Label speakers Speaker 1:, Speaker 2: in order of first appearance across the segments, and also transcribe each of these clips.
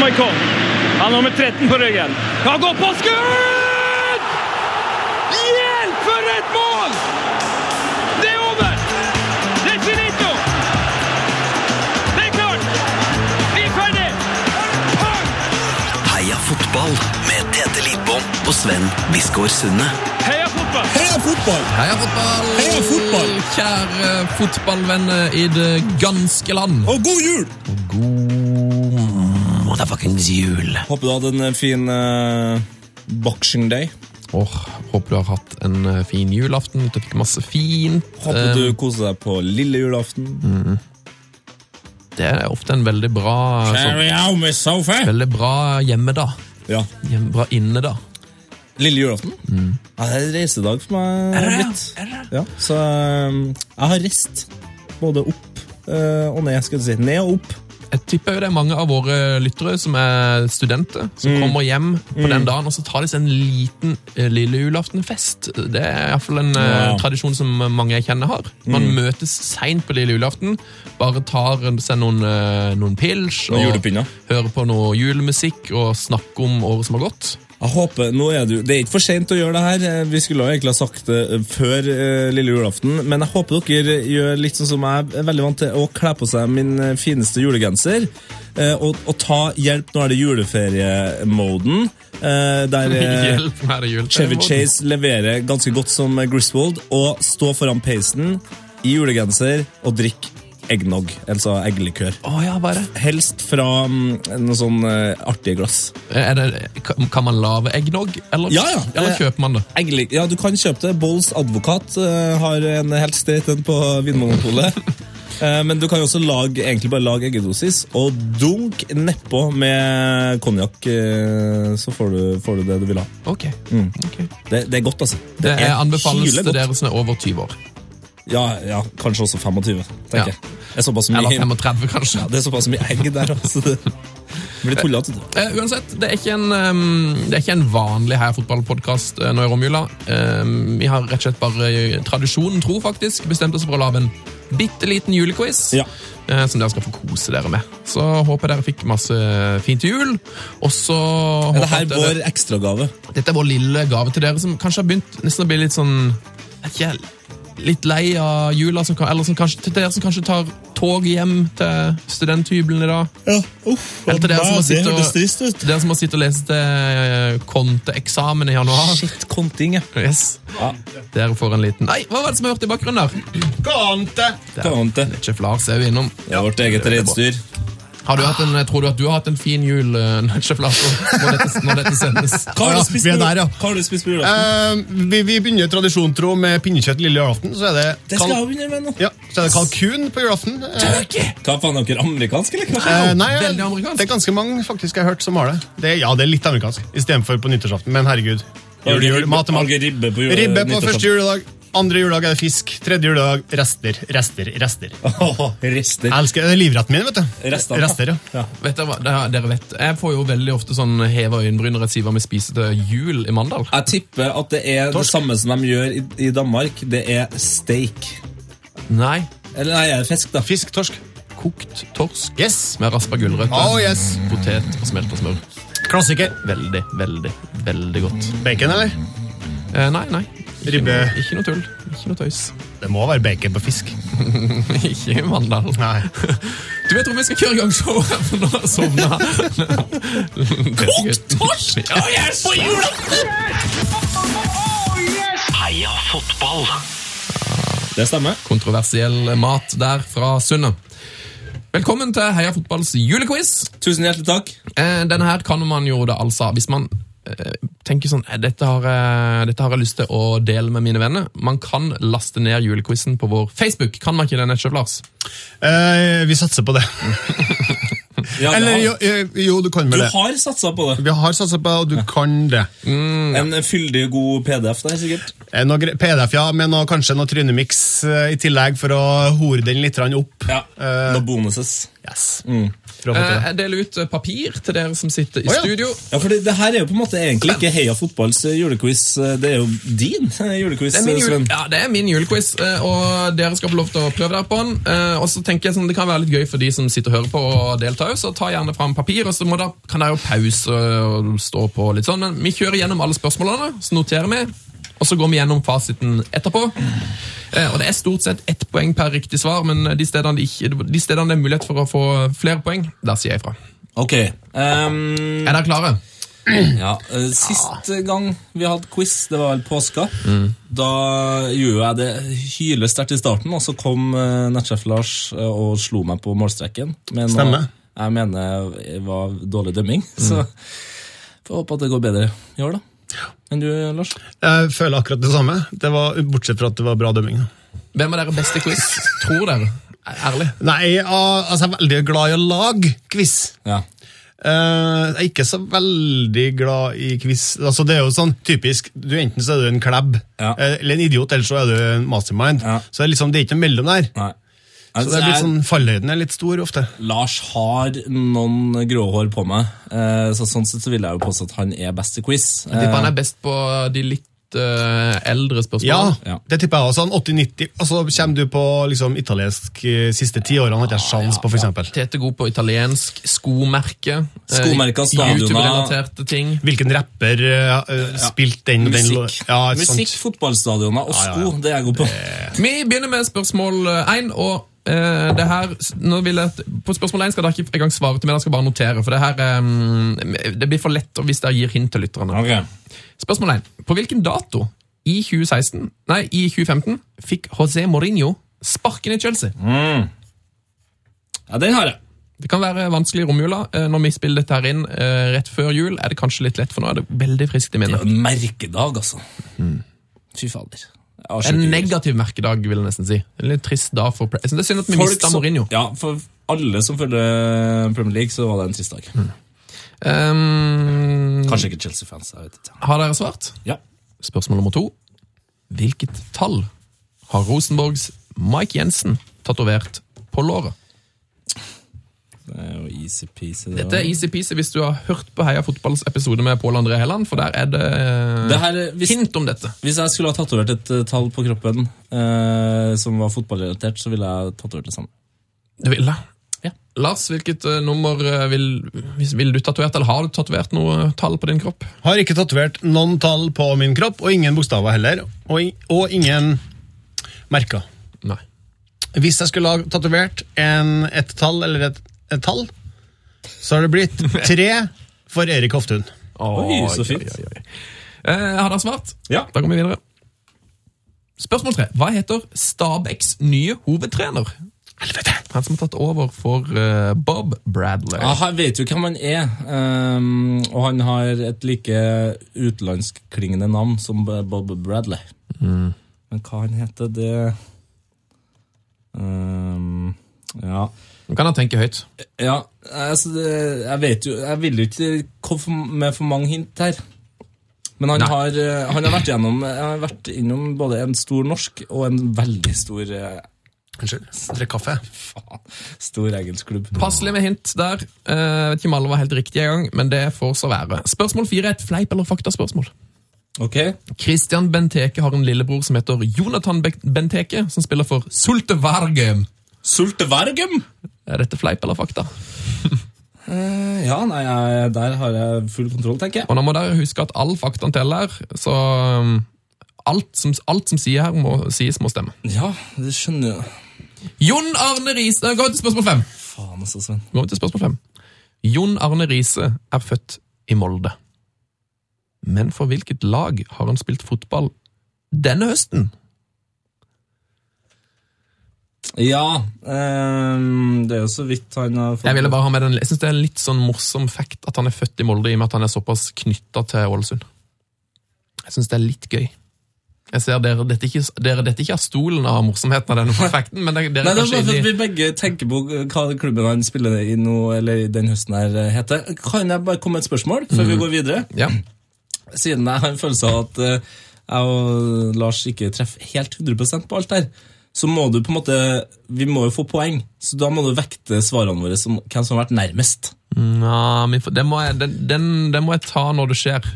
Speaker 1: Maikon. Han har nummer 13 på ryggen. Kan gå på skudd! Hjelp, for et mål! Det er over! Det er finito! Det er klart! Vi er ferdig!
Speaker 2: Heia fotball med Tete Lidbom og Sven Biskår Sunne.
Speaker 1: Heia fotball!
Speaker 3: Heia fotball!
Speaker 4: Heia fotball!
Speaker 3: Heia fotball!
Speaker 4: Kjære fotballvenner i det ganske land.
Speaker 3: Og god jul!
Speaker 4: God motherfuckings jul.
Speaker 3: Håper du hadde en fin eh, boxing day.
Speaker 4: Åh, Håper du har hatt en eh, fin julaften. Du fikk masse fint.
Speaker 3: Håper
Speaker 4: Eh,
Speaker 3: du koser deg på lille julaften.
Speaker 4: Det er ofte en veldig bra, sånn,
Speaker 3: out med sofa!
Speaker 4: veldig bra hjemme, da.
Speaker 3: Ja.
Speaker 4: Hjem, bra inne, da.
Speaker 3: Lille julaften? Ja, det er en reisedag for meg.
Speaker 4: Mm. Er det det?
Speaker 3: blitt. Ja, så eh, jeg har reist både opp eh, og ned. skal du si. Ned og opp.
Speaker 4: Jeg tipper jo det er mange av våre lyttere som er studenter,
Speaker 3: Mm.
Speaker 4: som kommer hjem på den dagen, og så tar de seg en liten eh, lille julaftenfest. Det er iallfall en eh,
Speaker 3: Ja. Mm.
Speaker 4: tradisjon som mange jeg kjenner har. Man møtes seint på lille julaften, bare tar seg noen, eh, noen pils
Speaker 3: Og julepinner.
Speaker 4: hører på noe julemusikk og snakker om året som har gått.
Speaker 3: Jeg håper, nå er du, Det er ikke for sent å gjøre det her. Eh, Vi skulle jo egentlig ha sagt det eh, før eh, lille julaften. Men jeg håper dere gjør litt sånn som jeg er veldig vant til, å kle på seg min eh, fineste julegenser. eh, Og, og ta hjelp. Nå er det juleferiemoden. eh, Der eh,
Speaker 4: Hjelp meg, det er jul.
Speaker 3: Chevy Chase leverer ganske godt som Griswold. Og stå foran peisen i julegenser og drikk eggnog, altså eggelikør.
Speaker 4: Å ja, hva er det?
Speaker 3: Helst fra mm, noe sånn eh, artige glass.
Speaker 4: Eh, Er det kan kan man lage eggnog, eller,
Speaker 3: Ja, ja.
Speaker 4: eller
Speaker 3: Eh,
Speaker 4: kjøper man det?
Speaker 3: Egentlig, ja, du kan kjøpe det. Bolls advokat eh, har en helt streit en på Vinmonopolet. Eh, men du kan jo også lage, egentlig bare lage eggedosis og dunk nedpå med konjakk. eh, så får du, får du det du vil ha.
Speaker 4: Ok.
Speaker 3: Mm.
Speaker 4: ok.
Speaker 3: Det, det er godt, altså. Det
Speaker 4: Det er anbefales
Speaker 3: kile
Speaker 4: til
Speaker 3: godt.
Speaker 4: dere som er over 20 år.
Speaker 3: Ja, ja, kanskje også 25,
Speaker 4: Ja.
Speaker 3: tenker jeg. Det er såpass mye,
Speaker 4: Eller 35, kanskje.
Speaker 3: ja, det er såpass mye egg der, altså. Det blir tullete.
Speaker 4: Eh, uansett, det er ikke en, ehm, det er ikke en vanlig her fotballpodkast eh, nå i romjula. Ehm, vi har rett og slett bare eh, tradisjonen tro, faktisk, bestemt oss for å lage en bitte liten julequiz.
Speaker 3: Ja.
Speaker 4: eh, Som dere skal få kose dere med. Så håper dere fikk masse fint til jul. Og så håper
Speaker 3: Er det her
Speaker 4: at dere-
Speaker 3: vår ekstragave?
Speaker 4: Dette er vår lille gave til dere som kanskje har begynt nesten å bli litt sånn vet ikke, Litt lei av jula, som kan, eller som kanskje, til dere som kanskje tar tog hjem til studenthybelen i dag.
Speaker 3: Ja, uff.
Speaker 4: Eller til dere som har sittet og,
Speaker 3: trist ut.
Speaker 4: til dere som har sittet og lest eh, konteeksamen i
Speaker 5: Ah.
Speaker 4: januar.
Speaker 3: Shit, konting, ja.
Speaker 4: Yes.
Speaker 3: Ja.
Speaker 4: Dere får en liten Nei, hva var det som jeg hørte i bakgrunnen der?
Speaker 3: Det var vondt, det.
Speaker 4: Ikke Lars er jo innom.
Speaker 3: Det er vårt eget
Speaker 4: det er bra.
Speaker 3: reinsdyr.
Speaker 4: Har du hatt en, tror du at du har hatt en fin jul, eh, Nudge Lars, når dette, når dette sendes?
Speaker 3: Hva har
Speaker 5: Ja,
Speaker 3: du spist
Speaker 5: vi er
Speaker 3: på-
Speaker 5: der, ja.
Speaker 3: Hva har du spist på julaften?
Speaker 5: Eh, vi, vi begynner tradisjonen tro med pinnekjøtt lille julaften. Så er det,
Speaker 3: Det skal jeg begynne med nå.
Speaker 5: ja, så er det kalkun på julaften. Eh,
Speaker 4: Turkey!
Speaker 3: Hva faen, er dere amerikanske, eller? hva?
Speaker 5: eh, nei,
Speaker 4: Veldig amerikansk.
Speaker 5: Det er ganske mange faktisk jeg har hørt som har det. det er- ja, det er litt amerikansk istedenfor på nyttårsaften. Men herregud.
Speaker 3: Lager
Speaker 5: Jul, jul,
Speaker 3: ribbe-
Speaker 5: mat er mat.
Speaker 3: lager ribbe på jule-
Speaker 5: Ribbe på
Speaker 3: nyttårsaften.
Speaker 5: første juledag. Andre juledag er det fisk. Tredje juledag rester, rester, rester. Jeg
Speaker 3: Åh, Rister.
Speaker 5: elsker det er livretten min, vet du.
Speaker 3: Rester.
Speaker 5: Eh, rester ja.
Speaker 4: Vet dere, hva? Det- dere vet, Jeg får jo veldig ofte sånn heva øyenbryn når jeg sier hva vi spiser til jul i Mandal.
Speaker 3: Jeg tipper at det er det
Speaker 5: Torsk.
Speaker 3: samme som de gjør i, i Danmark. Det er steak.
Speaker 4: Nei,
Speaker 3: Eller nei, er det fisk, da.
Speaker 5: Fisk, torsk.
Speaker 4: kokt torsk
Speaker 5: Yes!
Speaker 4: med raspa gulrøtter,
Speaker 5: Oh, yes.
Speaker 4: potet og smelta smør.
Speaker 5: Klassiker.
Speaker 4: Veldig, veldig, veldig godt.
Speaker 5: Bacon, eller?
Speaker 4: Eh, nei, nei. Ikke
Speaker 5: Ribbe.
Speaker 4: noe, ikke noe tull. Ikke noe tøys.
Speaker 5: Det må være bacon på fisk.
Speaker 4: ikke i Mandal.
Speaker 5: Nei.
Speaker 4: Du vet om vi skal kjøre i gang showet, for nå har jeg sovna. Kokt torsk! Oh, yes! På julaften!
Speaker 2: Heia fotball!
Speaker 3: Det stemmer.
Speaker 4: Kontroversiell mat der fra Sundet. Velkommen til Heia fotballs julequiz.
Speaker 3: Tusen hjertelig takk.
Speaker 4: Eh, Denne her kan man jo da altså Hvis man eh, tenker sånn eh, dette har, jeg- dette har jeg lyst til å dele med mine venner. Man kan laste ned julequizen på vår Facebook. Kan man ikke det, Nettsjef Lars?
Speaker 5: Eh, vi satser på det.
Speaker 3: Ja, det
Speaker 5: Eller
Speaker 3: har-
Speaker 5: jo, eh, jo, du kan vel
Speaker 3: Du
Speaker 5: det.
Speaker 3: har satsa på det.
Speaker 5: Vi har satsa på og du kan det. Mm,
Speaker 3: En fyldig, god PDF der, sikkert.
Speaker 5: Eh, Noe gre- PDF, ja, med noe, kanskje noe trynemiks eh, i tillegg for å hore den litt grann opp.
Speaker 3: Ja, Mm.
Speaker 5: Eh,
Speaker 3: Noe bonuses.
Speaker 5: Yes.
Speaker 4: Eh, Jeg deler ut eh, papir til dere som sitter i
Speaker 5: Å, ja.
Speaker 4: studio.
Speaker 3: Ja, for det, det her er jo på en måte egentlig ikke Heia fotballs eh, julequiz. eh, Det er jo din eh, julequiz,
Speaker 4: Det er min,
Speaker 3: eh,
Speaker 4: jul
Speaker 3: Sven.
Speaker 4: ja, det er min julequiz, eh, og dere skal få lov til å prøve dere på den. Eh, Og så tenker jeg sånn, Det kan være litt gøy for de som sitter og hører på og deltar. også, Så ta gjerne fram papir, og så må dere, kan dere jo pause og stå på litt sånn. Men vi kjører gjennom alle spørsmålene, så noterer vi. Og så går vi gjennom fasiten etterpå. Eh, Og Det er stort sett ett poeng per riktig svar, men de stedene det, ikke, de stedene det er mulighet for å få flere poeng, der sier jeg ifra.
Speaker 3: Ok. ehm,
Speaker 4: Er dere klare?
Speaker 3: ja, eh, sist
Speaker 5: Ah.
Speaker 3: gang vi hadde quiz, det var vel påska,
Speaker 5: Mm.
Speaker 3: da gjorde jeg det hylesterkt i starten, og så kom eh, nettsjef Lars eh, og slo meg på målstreken. Men nå-
Speaker 5: Stemmer. Mm.
Speaker 3: Jeg mener det var dårlig dømming, så får håpe at det går bedre i år, da. Enn du, Lars?
Speaker 5: Jeg føler akkurat det samme, Det var bortsett fra at det var bra dømming. da.
Speaker 4: Hvem av dere best i quiz, tror dere? Ærlig.
Speaker 5: Nei, jeg- altså, jeg er veldig glad i å lage quiz.
Speaker 3: Ja.
Speaker 5: Eh, jeg er ikke så veldig glad i quiz. Altså, det er jo sånn typisk, du Enten så er du en klebb
Speaker 3: Ja.
Speaker 5: eh, eller en idiot, eller så er du en mastermind.
Speaker 3: Ja.
Speaker 5: Så det er liksom, det er ikke noe mellom der.
Speaker 3: Nei. Altså,
Speaker 5: Så det er litt sånn, Fallhøyden er litt stor ofte.
Speaker 3: Lars har noen gråhår på meg, eh, så sånn sett så vil jeg jo påstå at han er best i quiz. Eh,
Speaker 4: Tipper han er best på de litt eh, eldre
Speaker 5: Ja,
Speaker 4: spørsmålene.
Speaker 3: Ja.
Speaker 5: det tipper jeg også. Sånn 80-90, og så kommer du på liksom, italiensk eh, siste ti årene. Har
Speaker 3: Ah,
Speaker 5: ikke jeg sjans på, for eksempel.
Speaker 4: Tete god på italiensk, skomerke, eh,
Speaker 3: Skomerker, stadioner.
Speaker 4: YouTube-relaterte ting.
Speaker 5: Hvilken rapper eh, eh, spilte den og den lo-
Speaker 3: Musikk,
Speaker 5: Ja, ikke sant?
Speaker 3: Musikk fotballstadioner og
Speaker 5: Ja,
Speaker 3: sko,
Speaker 5: ja, ja.
Speaker 3: det er jeg god på.
Speaker 4: Vi begynner med spørsmål én, og eh, det her nå vil jeg, På spørsmål én skal dere ikke engang svare til meg, dere skal bare notere. For det her eh, Det blir for lett hvis dere gir hint til lytterne.
Speaker 3: Ok.
Speaker 4: Spørsmål én. På hvilken dato i 2016, nei, i 2015 fikk José Mourinho sparken i Chelsea?
Speaker 3: Ja, den har jeg.
Speaker 4: Det kan være vanskelig i romjula. eh, Når vi spiller dette her inn eh, rett før jul, er det kanskje litt lett, for nå er det veldig friskt i
Speaker 3: Det
Speaker 4: minnet.
Speaker 3: er jo en merkedag, altså. Fy fader. Jeg har
Speaker 4: En
Speaker 3: sjukt mye.
Speaker 4: negativ merkedag, vil jeg nesten si. En litt trist dag for Pre- Jeg synes Det er synd at vi
Speaker 3: Folk
Speaker 4: mista
Speaker 3: som-
Speaker 4: Mourinho.
Speaker 3: Ja, for alle som følger Premier League, så var det en trist dag.
Speaker 4: Ehm,
Speaker 3: Kanskje ikke Chelsea-fans. jeg vet ikke.
Speaker 4: har dere svart?
Speaker 3: Ja.
Speaker 4: Spørsmål nummer to. Hvilket tall har Rosenborgs Mike Jensen tatovert på låret?
Speaker 3: Det er jo easy-peasy. det
Speaker 4: Dette er
Speaker 3: også.
Speaker 4: easy-peasy hvis du har hørt på Heia fotballs episode med Pål André Helland, for der er det, eh,
Speaker 3: Det her, hvis,
Speaker 4: hint om dette.
Speaker 3: hvis jeg skulle ha tatovert et eh, tall på kroppen eh, som var fotballrelatert, så ville jeg tatovert det samme.
Speaker 4: Du vil det? Lars, hvilket eh, nummer eh, vil, hvis- vil du tatovert, eller har du tatovert noe eh, tall på din kropp?
Speaker 5: Har ikke tatovert noen tall på min kropp, og ingen bokstaver heller. Og, in- og ingen merker.
Speaker 4: Nei.
Speaker 5: Hvis jeg skulle ha tatovert en, et tall eller et, et tall, så har det blitt tre for Erik Hoftun.
Speaker 3: Oi, så fint.
Speaker 4: oi, oi. Eh, har dere svart?
Speaker 3: Ja.
Speaker 4: Da går vi videre. Spørsmål tre. Hva heter Stabæks nye hovedtrener? Helvete! Han som har tatt over for eh, Bob Bradley.
Speaker 3: Ja, Ah, jeg vet jo hvem han er, ehm, og han har et like utenlandskklingende navn som Bob Bradley. Men hva han heter, det ehm, Ja.
Speaker 4: Nå kan han tenke høyt.
Speaker 3: ja altså, det, jeg vet jo Jeg vil jo ikke komme for- med for mange hint her. Men han
Speaker 4: Nei.
Speaker 3: har, eh, han har vært gjennom Han har vært innom både en stor norsk og en veldig stor eh,
Speaker 5: Unnskyld. Drikk kaffe.
Speaker 3: Faen. Stor engelsk klubb.
Speaker 4: Passelig med hint der. Eh, vet ikke om alle var helt riktige engang, men det får så være. Spørsmål fire er et fleip- eller faktaspørsmål.
Speaker 3: Ok?
Speaker 4: Christian Benteke har en lillebror som heter Jonathan Be- Benteke, som spiller for Sulte Vargem.
Speaker 3: Sultevergum!
Speaker 4: Er dette fleip eller fakta?
Speaker 3: Ja, nei, jeg, der har jeg full kontroll, tenker jeg.
Speaker 4: Og nå må dere huske at all faktaen teller, så um, alt som, alt som sier her må, sies, må stemme.
Speaker 3: Ja, det skjønner jeg.
Speaker 4: Jon Arne Riise Gå til spørsmål fem!
Speaker 3: Faen altså, Sven.
Speaker 4: Gå til spørsmål fem. Jon Arne Riise er født i Molde. Men for hvilket lag har han spilt fotball denne høsten?
Speaker 3: Ja, ehm, det er jo så vidt han har fått
Speaker 4: Jeg ville bare ha med den, jeg synes det er en litt sånn morsom fact at han er født i Molde, i og med at han er såpass knytta til Ålesund. Jeg syns det er litt gøy. Jeg ser dere dette ikke, dere dette ikke av stolen av morsomheten av denne facten, men dere, dere
Speaker 3: Nei, det er
Speaker 4: kanskje
Speaker 3: bare for at
Speaker 4: inni-
Speaker 3: vi begge tenker på hva klubben han spiller i nå, eller den høsten her eh, heter. Kan jeg bare komme med et spørsmål før vi går videre?
Speaker 4: Ja.
Speaker 3: Siden jeg har en følelse av at eh, jeg og Lars ikke treffer helt 100 på alt her, så må du på en måte Vi må jo få poeng, så da må du vekte svarene våre som hvem som har vært nærmest.
Speaker 4: Nja, vi får- den, må jeg- den, den, den må jeg ta når det skjer.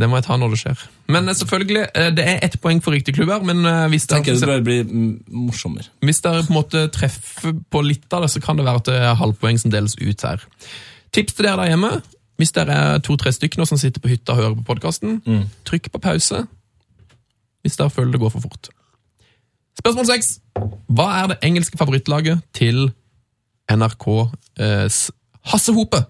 Speaker 4: Den må jeg ta når det skjer. Men eh, selvfølgelig, eh, det er ett poeng for riktig klubb her, men eh, hvis det,
Speaker 3: Tenker jeg det bare blir mm, morsommere.
Speaker 4: hvis dere på en måte treffer på litt av det, så kan det være at det er halvpoeng som deles ut her. Tips til dere der hjemme. Hvis dere er to-tre stykker nå som sitter på hytta og hører på podkasten, trykk på pause hvis dere føler det går for fort. Spørsmål seks. Hva er det engelske favorittlaget til NRKs Hasse Hope?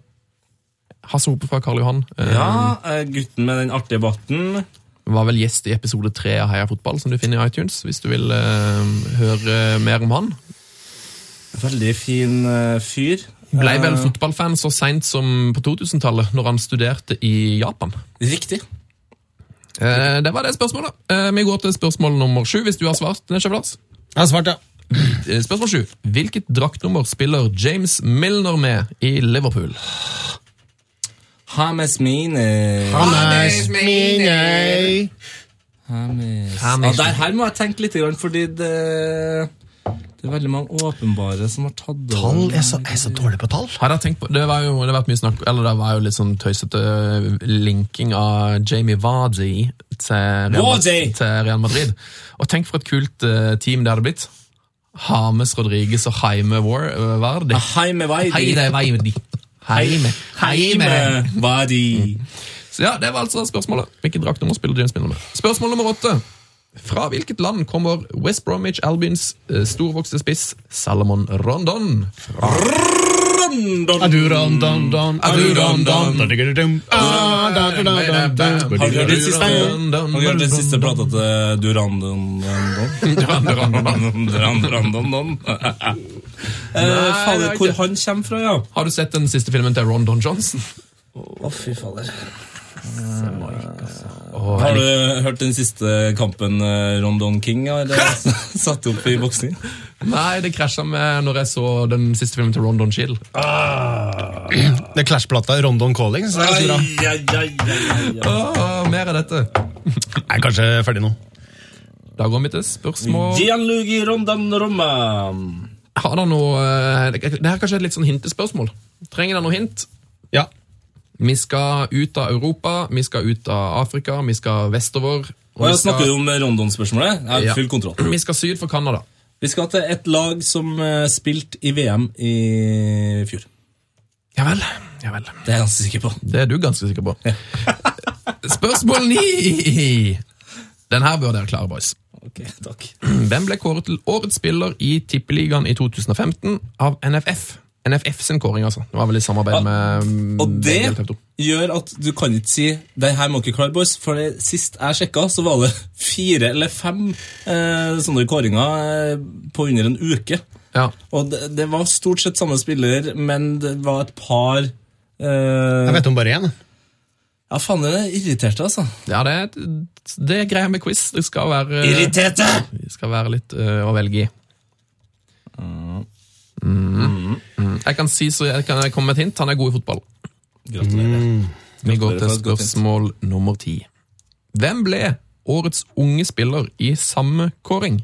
Speaker 4: Hasse Hope fra Karl Johan eh,
Speaker 3: Ja, eh, gutten med den artige barten.
Speaker 4: var vel gjest i episode tre av Heia fotball, som du finner i iTunes, hvis du vil eh, høre mer om han.
Speaker 3: Veldig fin eh, fyr.
Speaker 4: Blei vel fotballfan så seint som på 2000-tallet, når han studerte i Japan.
Speaker 3: Riktig.
Speaker 4: Eh, det var det spørsmålet. Eh, vi går til spørsmål nummer sju, hvis du har svart. Nesjev Lars.
Speaker 5: Jeg har svart, ja.
Speaker 4: Eh, Spørsmål sju. Hvilket draktnummer spiller James Milner med i Liverpool?
Speaker 3: Hames mine.
Speaker 5: Hannes
Speaker 3: eh.
Speaker 5: Minei.
Speaker 3: Hames. Ja,
Speaker 4: Hames.
Speaker 3: der her må jeg tenke litt, grann, fordi det, det er veldig mange åpenbare som har tatt over.
Speaker 5: Tall jeg er, så, jeg er så dårlig på tall.
Speaker 4: Har dere tenkt på, det var jo det har vært mye snakk Eller det var jo litt sånn tøysete linking av Jamie Vardy til Real,
Speaker 3: Vardy!
Speaker 4: til Real Madrid. Og tenk for et kult eh, team det hadde blitt. Hames Rodriguez og Jaime War, eh, Vardy.
Speaker 3: Hei med vei.
Speaker 4: Hei, det er Vardy. Heime. Heime.
Speaker 3: med vei. de.
Speaker 4: Så ja, det var altså spørsmålet. Hvilken draktnummer spiller James Milner med? Spørsmål nummer åtte. Fra hvilket land kommer West Bromwich Albions eh, storvokste spiss Salomon Rondon?
Speaker 3: Har du hørt den siste,
Speaker 4: Har du hørt den siste
Speaker 3: plata til eh, Durandon? Durandon?
Speaker 4: det
Speaker 3: Fader,
Speaker 4: er
Speaker 3: Eh, hvor
Speaker 4: ikke.
Speaker 3: han kommer fra, ja.
Speaker 4: Har du sett den siste filmen til Rondon Johnson?
Speaker 3: Å, fy fader.
Speaker 4: Åh,
Speaker 3: Eh, Har
Speaker 4: jeg,
Speaker 3: du hørt den siste kampen eh, Rondon King har eh, satt opp i boksing?
Speaker 4: lik- nei, det krasja med når jeg så den siste filmen til Rondon Chill.
Speaker 5: Det er Clash-plata i Rondon Calling. Så det er ganske bra.
Speaker 4: Åh, mer av dette.
Speaker 5: Jeg er kanskje ferdig nå.
Speaker 4: Da går vi til spørsmål
Speaker 3: Gianluigi Rondon Roma.
Speaker 4: Har dere noe eh, Det det her er kanskje et litt sånn hintespørsmål. Trenger dere noe hint?
Speaker 5: Ja.
Speaker 4: Vi skal ut av Europa, vi skal ut av Afrika, vi skal vestover. og
Speaker 3: Og
Speaker 4: vi
Speaker 3: jeg
Speaker 4: skal-
Speaker 3: snakker jo om Rondon-spørsmålet. Jeg
Speaker 4: Ja.
Speaker 3: har full kontroll.
Speaker 4: Vi skal syd for Canada.
Speaker 3: Vi skal til et lag som eh, spilte i VM i fjor.
Speaker 4: Ja vel. Ja vel.
Speaker 3: Det er jeg ganske sikker på.
Speaker 4: Det er du ganske sikker på. Spørsmål ni! Den her bør dere klare, boys.
Speaker 3: Ok, takk.
Speaker 4: Hvem ble kåret til årets spiller i Tippeligaen i 2015 av NFF? NFF sin kåring, altså. Det var vel i samarbeid med mm,
Speaker 3: Og det
Speaker 4: TV 2.
Speaker 3: gjør at du kan ikke si Det her må ikke klare, boys. For det, sist jeg sjekka, så var det fire eller fem eh, sånne kåringer eh, på under en uke.
Speaker 4: Ja.
Speaker 3: Og det, det var stort sett samme spiller, men det var et par
Speaker 5: Jeg
Speaker 3: eh,
Speaker 5: vet om bare én.
Speaker 3: Ja, faen, det irriterte, altså.
Speaker 4: ja, det er, det er greia med quiz. Det skal være
Speaker 3: Irriterte!
Speaker 4: Det skal være litt øh, å velge i. Mm. Jeg kan si så jeg kan komme med et hint. Han er god i fotball.
Speaker 3: Gratulerer.
Speaker 5: Mm.
Speaker 4: Vi går
Speaker 3: Gratulerer
Speaker 4: til
Speaker 3: for et godt hint.
Speaker 4: spørsmål nummer ti. Hvem ble årets unge spiller i samme kåring?